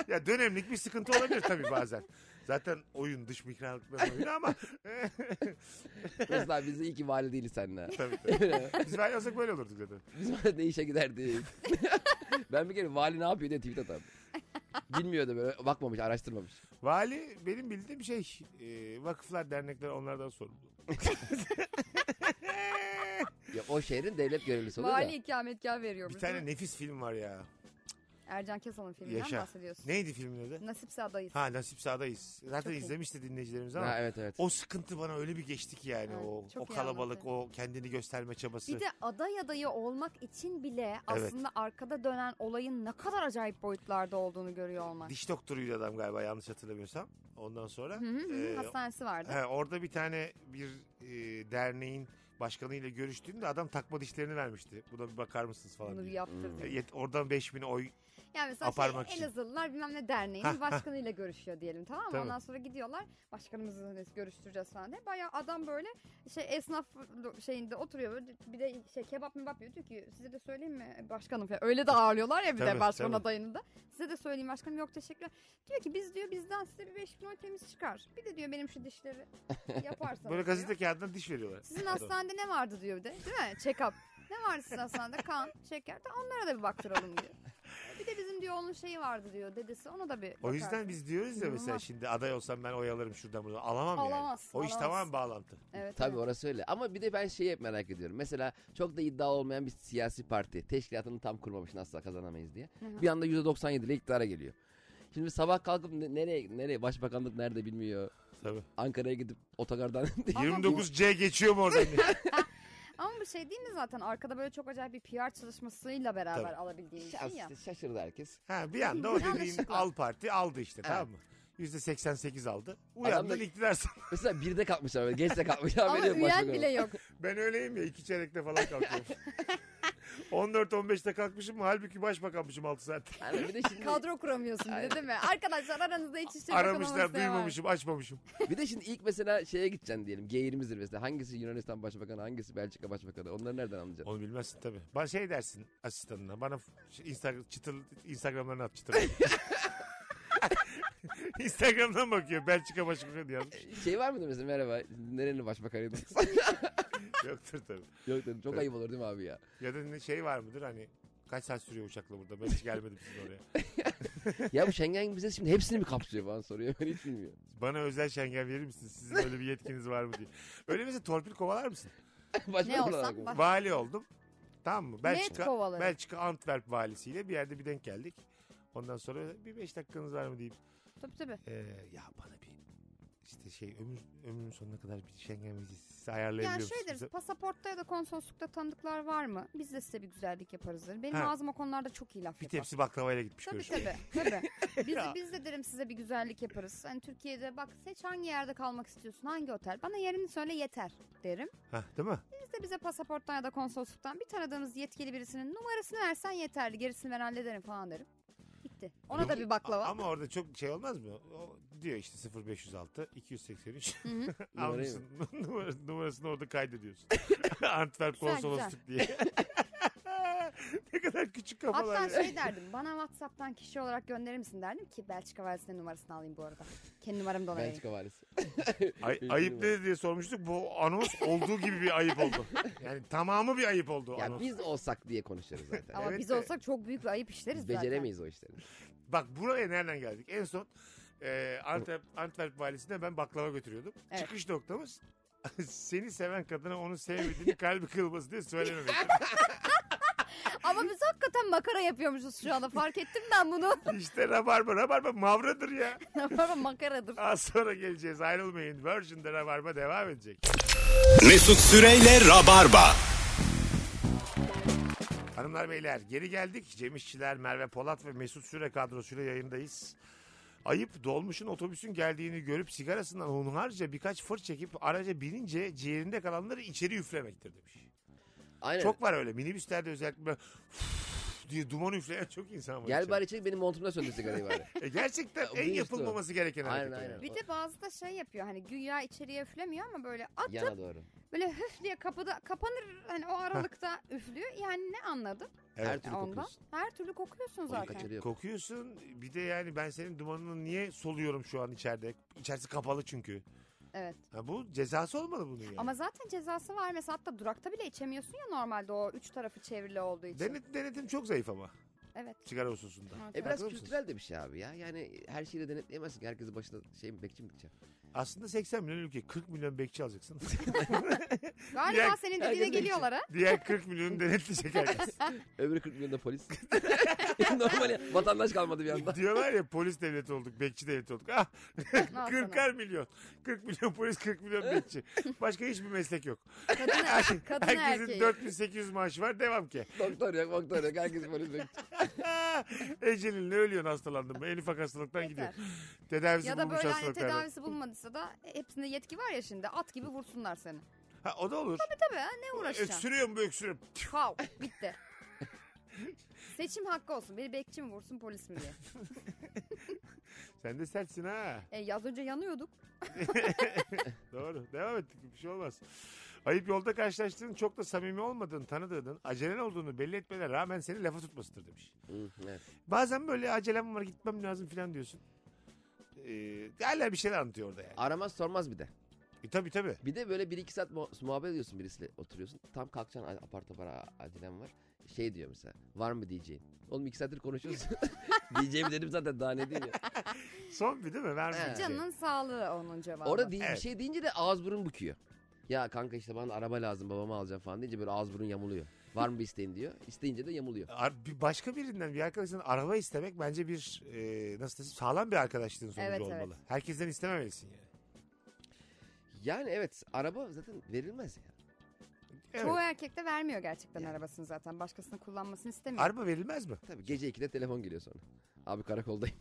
Ya dönemlik bir sıkıntı olabilir tabii bazen. Zaten oyun dış mikrallıkların oyunu ama
mesela biz de iyi ki vali değiliz seninle.
tabii tabii. Biz ben olsak böyle olurduk zaten.
Biz ne işe giderdik. ben bir kere vali ne yapıyor diye tweet atardım. Bilmiyordu böyle. Bakmamış, araştırmamış.
Vali benim bildiğim şey e, vakıflar, dernekler onlardan sorumlu.
Ya o şehrin devlet görevlisi oluyor
Vali
da.
ikametgah veriyormuş.
Bir tane
değil mi?
nefis film var ya.
Ercan Kesal'ın filminden
Yaşa.
bahsediyorsun.
Neydi filmin adı?
Nasipse adayız.
Ha nasip sağdayız. Zaten
Çok iyi.
izlemişti dinleyicilerimiz ama.
Ha, evet evet.
O sıkıntı bana öyle bir geçti ki yani
Evet,
o
çok
o
iyi
kalabalık, o kendini gösterme çabası.
Bir de aday adayı olmak için bile aslında arkada dönen olayın ne kadar acayip boyutlarda olduğunu görüyor olmak.
Diş doktoruydu adam galiba yanlış hatırlamıyorsam. Ondan sonra
Hı hı hı,
e,
Hastanesi vardı.
he, orada bir tane bir e, derneğin başkanıyla görüştüğünde adam takma dişlerini vermişti. Buna bir bakar mısınız falan
Bunu bir
diye.
yaptırdı.
E, yet- oradan 5000 oy
Yani mesela
Aparmak
şey,
için.
Elazığlılar bilmem ne derneğinin başkanıyla görüşüyor diyelim tamam mı?
Tabii.
Ondan sonra gidiyorlar başkanımızı hani görüştüreceğiz falan diye. Bayağı adam böyle şey esnaf şeyinde oturuyor böyle bir de şey kebap mebap yiyor diyor ki size de söyleyeyim mi başkanım falan. Öyle de ağırlıyorlar ya bir
Tabii,
de başkan
tabii.
adayını da. Size de söyleyeyim başkanım yok teşekkürler. Diyor ki biz diyor bizden size bir 5000 lira temiz çıkar. Bir de diyor benim şu dişleri yaparsanız.
Böyle
diyor.
gazete kağıdına diş veriyorlar.
Sizin hastanede ne vardı diyor bir de. Değil mi? Check-up. Ne vardı sizin hastanede? Kan, şeker. Ta onlara da bir baktıralım diyor. Bir de bizim diyor onun şeyi vardı diyor dedesi. Ona da bir
O yüzden
bakarsın.
biz diyoruz ya mesela
İnanılmaz.
şimdi aday olsam ben oy alırım şuradan buradan. Alamam yani.
Alamazsın,
O iş
alamazsın.
tamam bağlantı.
Evet,
Tabii
evet.
orası öyle. Ama bir de ben şeyi hep merak ediyorum. Mesela çok da iddia olmayan bir siyasi parti. Teşkilatını tam kurmamış asla kazanamayız diye.
Hı hı.
Bir anda %97 ile iktidara geliyor. Şimdi sabah kalkıp ne- nereye nereye başbakanlık nerede bilmiyor.
Tabii.
Ankara'ya gidip otogardan
29C geçiyor mu oradan?
Ama bu şey değil mi zaten? Arkada böyle çok acayip bir PR çalışmasıyla beraber
Tabii.
alabildiğim bir şey
Şans-
ya.
şaşırdı herkes.
ha, bir anda o dediğin
Yanlışlıkla.
al parti aldı işte
Evet.
tamam mı? %88 aldı. Uyandı
da-
iktidar
Mesela bir de kalkmışlar böyle. Geç de kalkmışlar.
Ama
haberi yok
üyen
başbakanın.
bile yok.
Ben öyleyim ya iki çeyrekte falan kalkıyorum. 14-15'te kalkmışım halbuki başbakanmışım 6 saatte.
Yani bir de şimdi
Kadro kuramıyorsun bir de değil mi? Arkadaşlar aranızda hiç işe
Aramışlar duymamışım açmamışım.
bir de şimdi ilk mesela şeye gideceksin diyelim. G20'dir mesela. Hangisi Yunanistan başbakanı, hangisi Belçika başbakanı? Onları nereden anlayacaksın?
Onu bilmezsin tabii. Bana şey dersin asistanına bana Instagram, çıtır, Instagram'larını at çıtır. Instagram'dan bakıyor Belçika başbakanı diye yazmış.
Şey var mıydı mesela merhaba nerenin başbakanıydınız?
Yoktur tabii.
Yok dedim çok
Evet.
ayıp olur değil mi abi ya?
Ya da ne şey var mıdır hani kaç saat sürüyor uçakla burada ben hiç gelmedim sizin oraya.
Ya bu Schengen bize şimdi hepsini mi kapsıyor falan soruyor. Ben hiç bilmiyorum.
Bana özel şengen verir misiniz sizin öyle bir yetkiniz var mı diye. Öyle mesela torpil kovalar mısın?
Başbakan
Ne
olarak
olsam
mı?
bak.
Vali oldum. Tamam mı?
Ne
Belçika,
kovaları?
Belçika Antwerp valisiyle bir yerde bir denk geldik. Ondan sonra bir beş dakikanız var mı deyip
Tabii tabii.
"Ee, ya bana bir işte şey ömür ömrümün sonuna kadar bir Schengen vizesi size
Ya
ayarlayabiliyor
şey
musunuz?
deriz pasaportta ya da konsoloslukta tanıdıklar var mı? Biz de size bir güzellik yaparız deriz. Benim
Ha.
ağzım o konularda çok iyi laf
Bir
yapar.
tepsi baklavayla gitmiş
Tabii
görüşmeye.
tabii. tabii. Biz,
Ya.
biz de derim size bir güzellik yaparız. Hani Türkiye'de bak seç hangi yerde kalmak istiyorsun, hangi otel. Bana yerini söyle yeter derim.
Hah, değil mi?
Siz de bize pasaporttan ya da konsolosluktan bir tanıdığımız yetkili birisinin numarasını versen yeterli. Gerisini ben hallederim falan derim. Bitti. Ona da bir baklava.
A- Ama orada çok şey olmaz mı? O diyor işte 0506 283.
Numarayı
Almışsın numara- numarasını orada kaydediyorsun. Antwerp
Güzel,
konsolosluk diye. ne kadar küçük kafalar.
Hatta
ya.
şey derdim. Bana WhatsApp'tan kişi olarak gönderir misin derdim ki Belçika valisinin numarasını alayım bu arada. Kendi numaramı da ona vereyim.
Belçika valisi.
Ay- ayıp ne diye sormuştuk. Bu anons olduğu gibi bir ayıp oldu. Yani tamamı bir ayıp oldu
Ya
anons.
biz olsak diye konuşuruz zaten.
Ama
Evet
biz
de-
olsak çok büyük bir ayıp işleriz zaten.
Beceremeyiz o işleri.
Bak buraya nereden geldik? En son e, Antwerp, Antwerp valisine ben baklava götürüyordum.
Evet.
Çıkış noktamız seni seven kadına onu sevmediğini kalbi kırılması diye söylememek.
Ama biz hakikaten makara yapıyormuşuz şu anda. Fark ettim ben bunu.
işte rabarba rabarba mavradır ya.
Ama makaradır.
Az sonra geleceğiz ayrılmayın. Virgin'de rabarba devam edecek.
Mesut Süreyle Rabarba.
Hanımlar beyler geri geldik. Cem İşçiler, Merve Polat ve Mesut Süre kadrosuyla yayındayız. Ayıp dolmuşun otobüsün geldiğini görüp sigarasından hunharca birkaç fır çekip araca binince ciğerinde kalanları içeri üflemektir demiş.
Aynen.
Çok var öyle minibüslerde özellikle böyle diye duman üfleyen çok insan var.
Gel
içeride.
bari çek benim montumda söndür sigarayı bari.
E gerçekten
Bu
en
işte.
yapılmaması gereken
Aynen,
hareket. o
aynen.
yani.
Bir de bazı da şey yapıyor hani güya içeriye üflemiyor ama böyle at
Yana doğru.
böyle höf diye kapıda kapanır hani o aralıkta üflüyor. Yani ne anladım
Evet.
Her türlü
ondan?
kokuyorsun.
Her türlü kokuyorsun
Onu
zaten.
kaçırıyor.
Kokuyorsun bir de yani ben senin dumanını niye soluyorum şu an içeride? İçerisi kapalı çünkü.
Evet.
Ha, bu cezası olmalı bunun yani.
Ama zaten cezası var mesela hatta durakta bile içemiyorsun ya normalde o üç tarafı çevrili olduğu için.
Denet, denetim çok zayıf ama
Evet.
sigara hususunda.
Evet,
E
evet.
biraz
Haklı mısınız?
kültürel de bir şey abi ya. Yani her şeyi de denetleyemezsin. ki. Herkesin başına şey mi bekçi mi dikeceksin?
Aslında 80 milyon ülke 40 milyon bekçi alacaksın.
Galiba
Ya-
senin dediğine
herkesin
geliyorlar ha.
Diğer 40 milyonu denetleyecek herkes.
Öbürü 40 milyon da polis. Normal ya. Vatandaş kalmadı bir anda.
Diyorlar ya polis devleti olduk, bekçi devleti olduk. Ah
Al
40'ar milyon. 40 milyon polis, 40 milyon bekçi. Başka hiçbir meslek yok.
sana. Kadın, kadın
Herkesin
erkeği.
4800 maaşı var devam ki.
Doktor yok, doktor yok. Herkes polis bekçi.
Ah, Ecelinle ölüyorsun hastalandın mı? En ufak hastalıktan gidiyor.
Yeter.
Tedavisi
Ya da
bulmuş
böyle hani
hastalıklardan.
tedavisi bulmadıysa da e, hepsinde yetki var ya şimdi at gibi vursunlar seni.
Ha, o da olur.
Tabii ha, ne uğraşacaksın?
Öksürüyor mu bu öksürüyor.
Kav bitti. Seçim hakkı olsun. Biri bekçi mi vursun polis mi diye.
Sen de sertsin ha.
E, yaz önce yanıyorduk.
Doğru. Devam ettik. Bir şey olmaz. Ayıp yolda karşılaştığın çok da samimi olmadığın, tanıdığın, acelen olduğunu belli etmene rağmen seni lafa tutmasıdır demiş.
Hı, evet.
Bazen böyle acelem var gitmem lazım falan diyorsun. Ee, hala bir şeyler anlatıyor orada yani.
Aramaz sormaz bir de.
E, tabii tabii.
Bir de böyle 1-2 saat muha- muhabbet ediyorsun birisiyle oturuyorsun. Tam kalkacaksın a- apar topar a- acelem var. Şey diyor mesela var mı diyeceğin. Oğlum 2 saattir konuşuyoruz. diyeceğimi dedim zaten daha ne diyeyim ya.
Son bir değil mi? Vermeyecek.
Evet.
Canının sağlığı onun cevabı.
Orada değil,
Evet.
bir şey deyince de ağız burun büküyor. Ya kanka işte bana araba lazım babamı alacağım falan deyince böyle ağız burun yamuluyor. Var mı bir isteğin diyor. İsteyince de yamuluyor.
Ar- Bir başka birinden bir arkadaşından araba istemek bence bir e, nasıl desem sağlam bir arkadaşlığın sonucu
Evet, evet.
olmalı. Herkesten istememelisin yani.
Yani evet araba zaten verilmez ya.
Evet.
Çoğu erkek de vermiyor gerçekten arabasını zaten. Başkasının kullanmasını istemiyor.
Araba verilmez mi?
Tabii gece 2'de telefon geliyor sonra. Abi karakoldayım.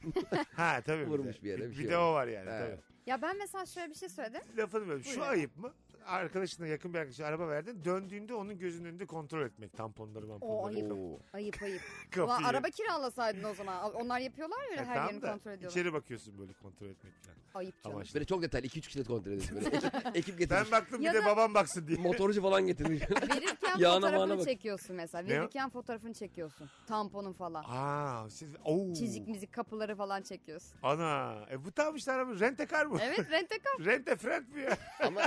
Ha tabii. de-
Vurmuş bir yere, bir şey
de o
olmuş.
var yani
Evet.
tabii.
ya ben mesela şöyle bir şey söyledim.
Lafını böyle. Şu
Buyurun.
ayıp mı? Arkadaşına yakın bir arkadaşa araba verdin. Döndüğünde onun gözünün önünde kontrol etmek. Tamponları
O
mamponları.
ayıp.
Oo.
Ayıp ayıp.
Kapıyı.
Ulan araba kiralasaydın o zaman. Onlar yapıyorlar ya öyle
Ya
her
tamam
yerini
da
kontrol ediyorlar.
İçeri bakıyorsun böyle kontrol etmek falan.
Ayıp canım.
Ama
Böyle çok detaylı 2-3 kişi de kontrol ediyorsun böyle. Ekip, ekip getirmiş.
Ben baktım bir
Ya
de
da-
babam baksın diye.
Motorcu falan getirmiş.
Verirken
Yağına mağına
fotoğrafını
bak.
çekiyorsun mesela.
Ne o?
Verirken fotoğrafını çekiyorsun. Tamponun falan.
Aa, siz, oo.
Çizik müzik kapıları falan çekiyorsun.
Ana. E bu tam işte araba. Rente kar mı?
Evet rentekar.
Rente friend mi ya?
Ama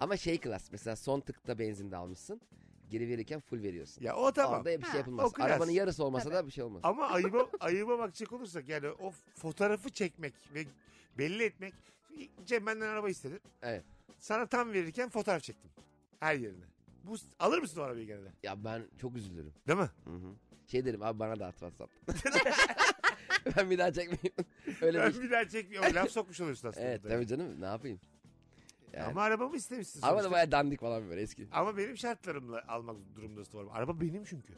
ama şey klas mesela son tıkta benzin de almışsın. Geri verirken full veriyorsun.
Ya o tamam.
Orada bir
Ha,
şey
o
yapılmaz.
klas.
Arabanın yarısı olmasa da bir şey olmaz.
Ama ayıba, ayıba bakacak olursak yani o fotoğrafı çekmek ve belli etmek. Cem benden araba istedin.
Evet.
Sana tam verirken fotoğraf çektim. Her yerine. Bu, alır mısın o arabayı gene de?
Ya ben çok üzülürüm.
Değil mi?
Hı hı. Şey derim abi bana da at WhatsApp. ben bir daha çekmeyeyim. Öyle bir
Ben
şey.
bir daha çekmiyorum. Laf sokmuş oluyorsun aslında.
Evet
burada.
tabii canım ne yapayım. Yani.
Ama arabamı istemişsin
Araba da
sonuçta.
baya dandik falan böyle eski.
Ama benim şartlarımla almak durumundasın o arabayı. Araba benim çünkü.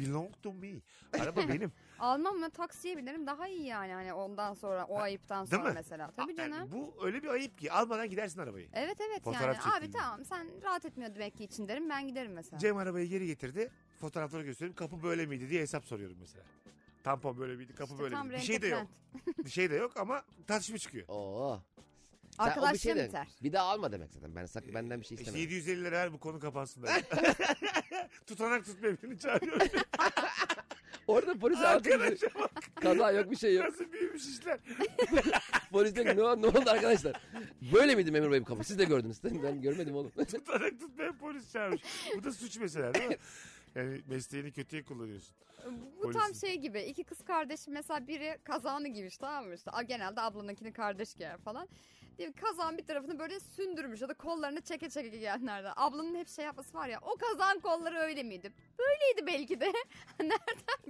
Belong to me. Araba benim.
Almam mı taksiye binerim daha iyi yani. Hani ondan sonra o ayıptan
Değil
sonra
mi?
mesela. Tabii
Yani
canım.
bu öyle bir ayıp ki almadan gidersin arabayı.
Evet evet
Fotoğraf
yani. Abi
çekildi.
tamam sen rahat etmiyor demek ki için derim ben giderim mesela.
Cem arabayı geri getirdi. Fotoğrafları gösteriyorum. Kapı böyle miydi diye hesap soruyorum mesela. Tampon böyle miydi? Kapı
İşte
böyle
tam
miydi? Bir
rent
şey de
a
yok. Bir şey de yok ama tartışma çıkıyor.
Oo. Sen o bir şey
Arkadaşlarım
de-
biter.
Bir daha alma demek zaten. Ben sak benden bir şey
İşte
istemem.
750 lira ver bu konu kapansın. da. Tutanak tutmaya beni çağırıyor.
Orada polis arkadaş.
Arkadaşa bak
Kaza yok bir şey yok.
nasıl büyümüş işler.
Polis diyor ki ne, ne oldu arkadaşlar? Böyle miydi memur bey bu kafa? Siz de gördünüz değil mi? Ben görmedim oğlum.
Tutanak tutmaya polis çağırmış. Bu da suç mesela değil mi? Yani mesleğini kötüye kullanıyorsun.
Bu
Polisin.
tam şey gibi iki kız kardeş mesela biri kazanı giymiş tamam mı işte a- genelde ablanınkini kardeş giyer falan. Diye kazan bir tarafını böyle sündürmüş ya da kollarını çeke çeke giyenlerden. Ablanın hep şey yapması var ya o kazan kolları öyle miydi? Böyleydi belki de. Nereden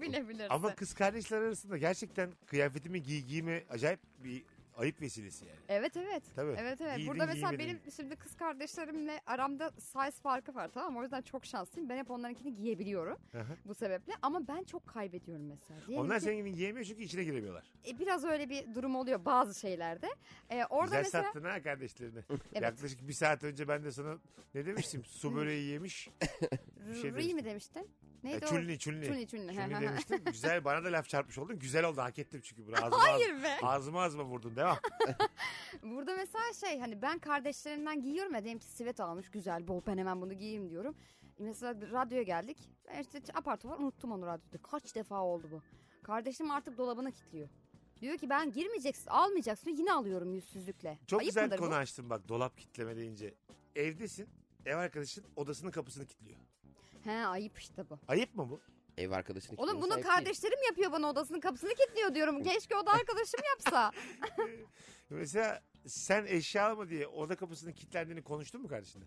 bilebilirsin?
Ama kız kardeşler arasında gerçekten kıyafetimi giy giyme acayip bir ayıp vesilesi yani.
Evet evet.
Tabii.
Evet evet.
Giydin,
Burada mesela
giymedin.
benim şimdi kız kardeşlerimle aramda size farkı var tamam mı? O yüzden çok şanslıyım. Ben hep onlarınkini giyebiliyorum
Aha.
bu sebeple. Ama ben çok kaybediyorum mesela. Diyelim
Onlar
ki-
senin gibi giyemiyor çünkü içine giremiyorlar.
E, biraz öyle bir durum oluyor bazı şeylerde. E, orada
Güzel
mesela
sattın ha kardeşlerini.
Evet.
Yaklaşık bir saat önce ben de sana ne demiştim? Su böreği yemiş. bir şey
Rı- Rı'yı
demiştim.
mı demiştin?
E,
Neydi o?
çulni çulni.
Çulni, çulni.
Çulni demiştim. Güzel bana da laf çarpmış oldun. Güzel oldu hak ettim çünkü bunu. Ağzıma,
Hayır be.
ağzıma ağzıma vurdun devam.
Burada mesela şey hani ben kardeşlerimden giyiyorum ya diyelim ki sivet almış güzel bol ben hemen bunu giyeyim diyorum. E, Mesela bir radyoya geldik. Ben işte apar topar unuttum onu radyoda. Kaç defa oldu bu. Kardeşim artık dolabına kilitliyor. Diyor ki ben girmeyeceksin almayacaksın yine alıyorum yüzsüzlükle.
Çok
Ayıp
güzel
mıdır bu?
konu açtın bak dolap kitleme deyince. Evdesin. Ev arkadaşın odasının kapısını kilitliyor.
He ayıp işte bu.
Ayıp mı bu?
Ev arkadaşını
Oğlum
kilitlemesi
bunu
ayıp değil.
kardeşlerim yapıyor bana odasının kapısını kilitliyor diyorum. Keşke o da arkadaşım yapsa.
Mesela sen eşya mı diye oda kapısının kilitlendiğini konuştun mu kardeşinle?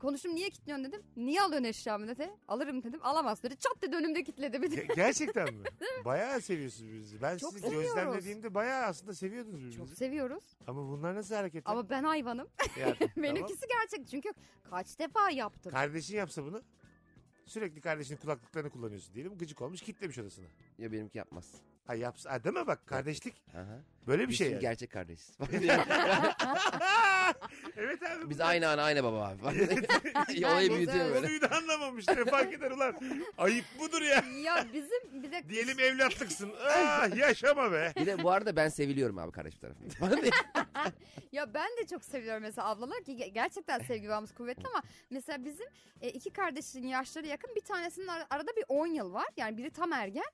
Konuştum niye kilitliyorsun dedim. Niye alıyorsun eşyamı dedi. Alırım dedim. Alamaz dedi. Çat dedi önümde kilitledi bir de.
Ge- gerçekten mi? bayağı seviyorsunuz birbirinizi. Ben
Çok
sizi
seviyoruz.
gözlemlediğimde bayağı aslında seviyordunuz birbirinizi.
Çok seviyoruz.
Ama bunlar nasıl hareketler?
Ama ben hayvanım.
Ya,
Benimkisi gerçek. Çünkü kaç defa yaptım.
Tamam. Kardeşin yapsa bunu sürekli kardeşinin kulaklıklarını kullanıyorsun diyelim. Gıcık olmuş kitlemiş odasını.
Ya benimki yapmaz.
Ha yapsın. Ha, değil mi bak kardeşlik
Aha.
böyle bir
Biz
şey.
şimdi
yani.
gerçek kardeşiz. Yani
evet abi.
Biz
bunlar-
aynı ana aynı baba abi. Olayı büyütüyor böyle.
Konuyu da anlamamış. Ne fark eder ulan. Ayıp budur ya.
ya bizim bir de
Diyelim evlatlıksın. Ah yaşama be.
Bir de bu arada ben seviliyorum abi kardeşim tarafından.
Ya ben de çok seviyorum mesela ablalar ki ge- gerçekten sevgi bağımız kuvvetli ama mesela bizim e, iki kardeşin yaşları yakın bir tanesinin ar- arada bir 10 yıl var. Yani biri tam ergen.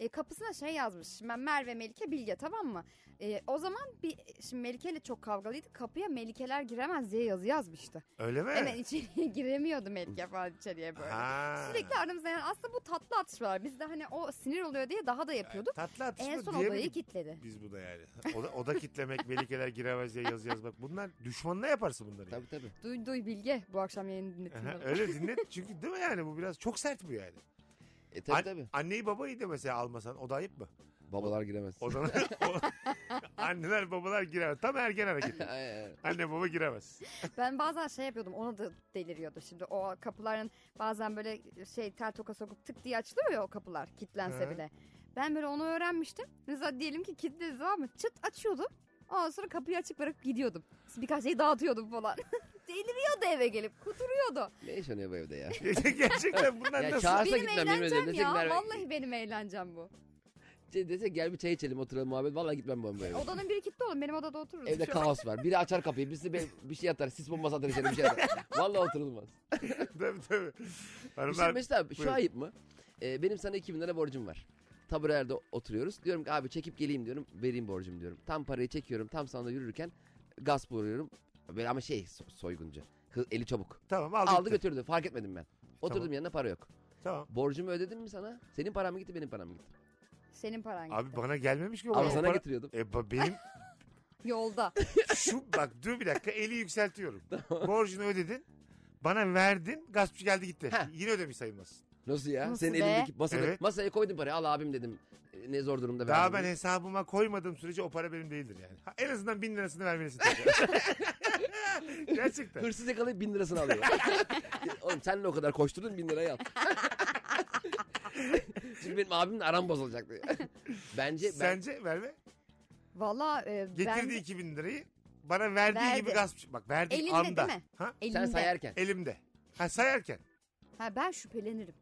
E, kapısına şey yazmış. Şimdi Ben Merve Melike Bilge tamam mı? E, o zaman bir şimdi Melike ile çok kavgalıydı. Kapıya Melikeler giremez diye yazı yazmıştı.
Öyle mi?
Hemen içeriye giremiyordu Melike falan içeriye böyle.
Eh. Ha.
Sürekli aramızda yani aslında bu tatlı atışmalar. Biz de hani o sinir oluyor diye daha da yapıyorduk.
Tatlı atışma
en son
diyemedik
odayı kilitledi.
Biz bu da yani. Oda, oda kitlemek, melikeler giremez diye yazı yazmak. Bunlar düşmanına yaparsın bunları. yani.
tabii tabii.
Duy duy Bilge bu akşam yayını
Aha,
dinletin.
Öyle dinlet. Çünkü değil mi yani bu biraz çok sert bu yani.
E, tabii
An-
tabii.
Anneyi babayı da mesela almasan o da ayıp mı?
Babalar giremez.
O zaman o- anneler babalar giremez. Tam ergen hareketi.
Aynen.
Anne baba giremez.
Ben bazen şey yapıyordum ona da deliriyordu şimdi o kapıların bazen böyle şey tel toka sokup tık diye açılıyor ya o kapılar kilitlense
Hı.
bile. Ben böyle onu öğrenmiştim. Mesela diyelim ki kilitledi tamam mı? Çıt açıyordum. Ondan sonra kapıyı açık bırakıp gidiyordum. Birkaç şey dağıtıyordum falan. Deliriyordu eve gelip kuduruyordu.
Ne yaşanıyor bu evde ya?
Gerçekten bunlar
Ya
nasıl?
çağırsa
Benim
gitmem. yemin ederim.
eğlencem
Dese ki
ya.
Merve-
Vallahi benim eğlencem bu.
Şey Dese gel bir çay içelim oturalım muhabbet. Vallahi gitmem ben bu eve.
Odanın biri kilitli oğlum benim odada otururuz.
Evde
Şu-
kaos var. Biri açar kapıyı, birisi bir, bir şey atar, sis bombası atar içeri bir şey atar. Vallahi oturulmaz.
tabii tabii.
Şimdi
Hanımlar
Mesut abi şu
buyurun.
ayıp mı? Ee, benim sana 2000 lira borcum var. Taburelerde oturuyoruz. Diyorum ki abi çekip geleyim diyorum. Vereyim borcumu diyorum. Tam parayı çekiyorum. Tam sana yürürken gasp vuruyorum. Böyle ama şey so- soyguncu. Hı- Eli çabuk.
tamam aldı, gitti.
Aldı götürdü. Fark etmedim ben. Oturdum
Tamam.
yanına para yok.
Tamam.
Borcumu ödedim mi sana? Senin param mı gitti benim param mı gitti?
Senin paran gitti.
Abi bana gelmemiş ki o.
Ama
O
sana
para-
getiriyordum.
E, ba- benim
Yolda.
şu bak dur bir dakika eli yükseltiyorum. Borcunu ödedin. Bana verdin. Gaspçı geldi gitti.
Ha.
Yine ödemiş sayılmaz.
Nasıl ya?
Nasıl
Senin
be?
elindeki masada,
Evet.
masaya koydum parayı. Al abim dedim. E, Ne zor durumda
Daha
verdim
ben
diye.
hesabıma koymadığım sürece o para benim değildir yani. Ha, en azından bin lirasını vermelisin. Gerçekten.
Hırsız yakalayıp bin lirasını alıyor. Oğlum senle o kadar koşturdun bin lirayı al. Şimdi benim abimle aram bozulacak diyor. Bence ben
Sence verme.
Valla e, ben...
Getirdi 2000 lirayı. Bana verdiği
Verdi.
gibi gasp. Bak verdiği
Elinde
anda.
değil mi?
Ha?
sen
Elimde.
sayarken.
Elimde. Ha sayarken.
Ha, ben şüphelenirim.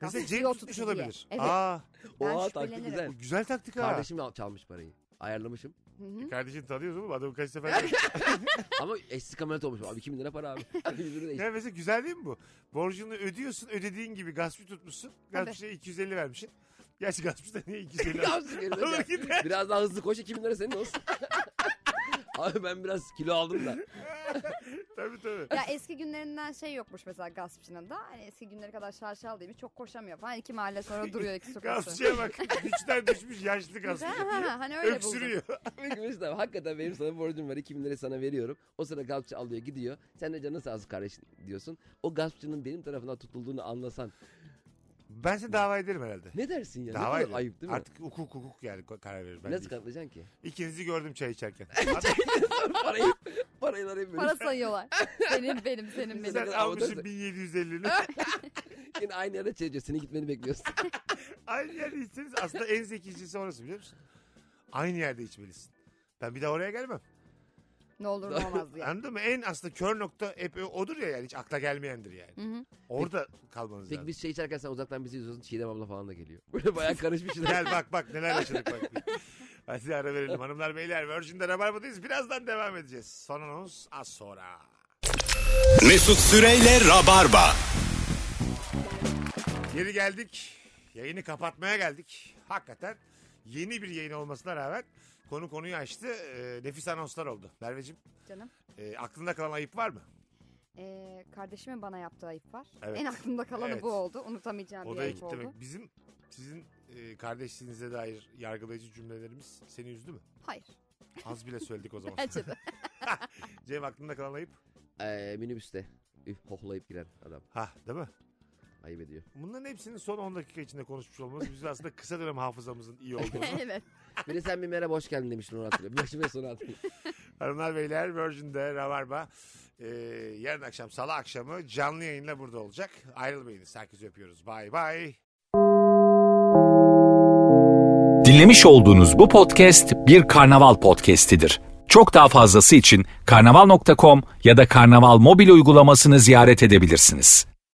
Mesela
Gasp
Cem
yoktu
tutmuş
diye.
olabilir.
Evet.
Aa,
Ben
Oha taktik
şüphelenirim.
güzel.
bu güzel taktik ha.
Kardeşim al- çalmış parayı. Ayarlamışım.
Hı hı.
Kardeşini tanıyoruz oğlum adamı kaç sefer görmüş.
Ama eşsiz kamerata olmuş. Abi 2000 lira para abi. Yüzünü değiştir.
Ya mesela güzel değil mi bu? Borcunu ödüyorsun ödediğin gibi gaspçı tutmuşsun. Gaspçıya 250 vermişsin. Gerçi gaspçı da niye 250 vermiş?
Yapsın geri dön
Alır
ya.
gider.
Biraz daha hızlı koş 2000 lira senin olsun. abi ben biraz kilo aldım da.
tabii tabii.
Ya eski günlerinden şey yokmuş mesela gaspçının da. Hani eski günleri kadar şaşal değilmiş çok koşamıyor falan. İki mahalle sonra duruyor iki sokakta.
Gaspçıya bak güçten düşmüş yaşlı gaspçı.
Ha, ha, ha, hani öyle buldum.
Öksürüyor.
Peki Mesut abi hakikaten benim sana borcum var. 2000 lirayı sana veriyorum. O sıra gaspçı alıyor gidiyor. Sen de canın sağ olsun kardeşim diyorsun. O gaspçının benim tarafından tutulduğunu anlasan.
Ben seni dava ederim herhalde.
Ne dersin ya?
Dava
ne kadar
ederim.
ayıp değil mi?
Artık hukuk hukuk yani ko- karar verir. Ben
Nasıl
değil.
katlayacaksın ki?
İkinizi gördüm çay içerken.
parayı, parayı arayıp böyle.
Para sayıyorlar. Senin benim senin
Güzel.
benim.
Sen
kadar
almışsın
amatörse-
1750'ni.
Yine aynı yerde çekiyor. Seni gitmeni bekliyorsun.
Aynı yerde içseniz aslında en zekicisi orası biliyor musun? Aynı yerde içmelisin. Ben bir daha oraya gelmem.
Ne olur ne olmaz diye.
Anladın mı? En aslında kör nokta hep odur ya yani hiç akla gelmeyendir yani.
hı.
Orada kalmanız
Peki
lazım.
biz şey içerken sen uzaktan bizi izliyorsun. Çiğdem abla falan da geliyor. Böyle bayağı karışmış şeyler.
Gel bak bak neler yaşadık bak. Hadi ara verelim hanımlar beyler. Virgin'de Rabarba'dayız. Birazdan devam edeceğiz. Son anons az sonra.
Mesut Süreyle Rabarba.
Geri geldik. Yayını kapatmaya geldik. Hakikaten yeni bir yayın olmasına rağmen konu konuyu açtı. Ee, nefis anonslar oldu. Merveciğim
Canım.
e, aklında kalan ayıp var mı?
Ee, kardeşimin bana yaptığı ayıp var.
Evet.
En aklımda kalanı
Evet.
bu oldu. Unutamayacağım bir
Odaya
ayıp oldu.
kilitlemek. Bizim sizin e, kardeşliğinize dair yargılayıcı cümlelerimiz seni üzdü mü?
Hayır.
Az bile söyledik o zaman.
Bence de.
Cem aklında kalan ayıp.
Ee, minibüste. Üf, hohlayıp giren adam.
Ha değil mi?
Ayıp ediyor.
Bunların hepsini son 10 dakika içinde konuşmuş olmamız bizim aslında kısa dönem hafızamızın iyi olduğunu.
evet.
Bir de sen bir merhaba hoş geldin demiştin onu hatırlıyorum. Başıma sonra hatırlıyorum.
Hanımlar beyler Virgin'de Rabarba e, yarın akşam salı akşamı canlı yayınla burada olacak. Ayrılmayınız. Herkesi öpüyoruz. Bay bay.
Dinlemiş olduğunuz bu podcast bir karnaval podcastidir. Çok daha fazlası için karnaval.com ya da karnaval mobil uygulamasını ziyaret edebilirsiniz.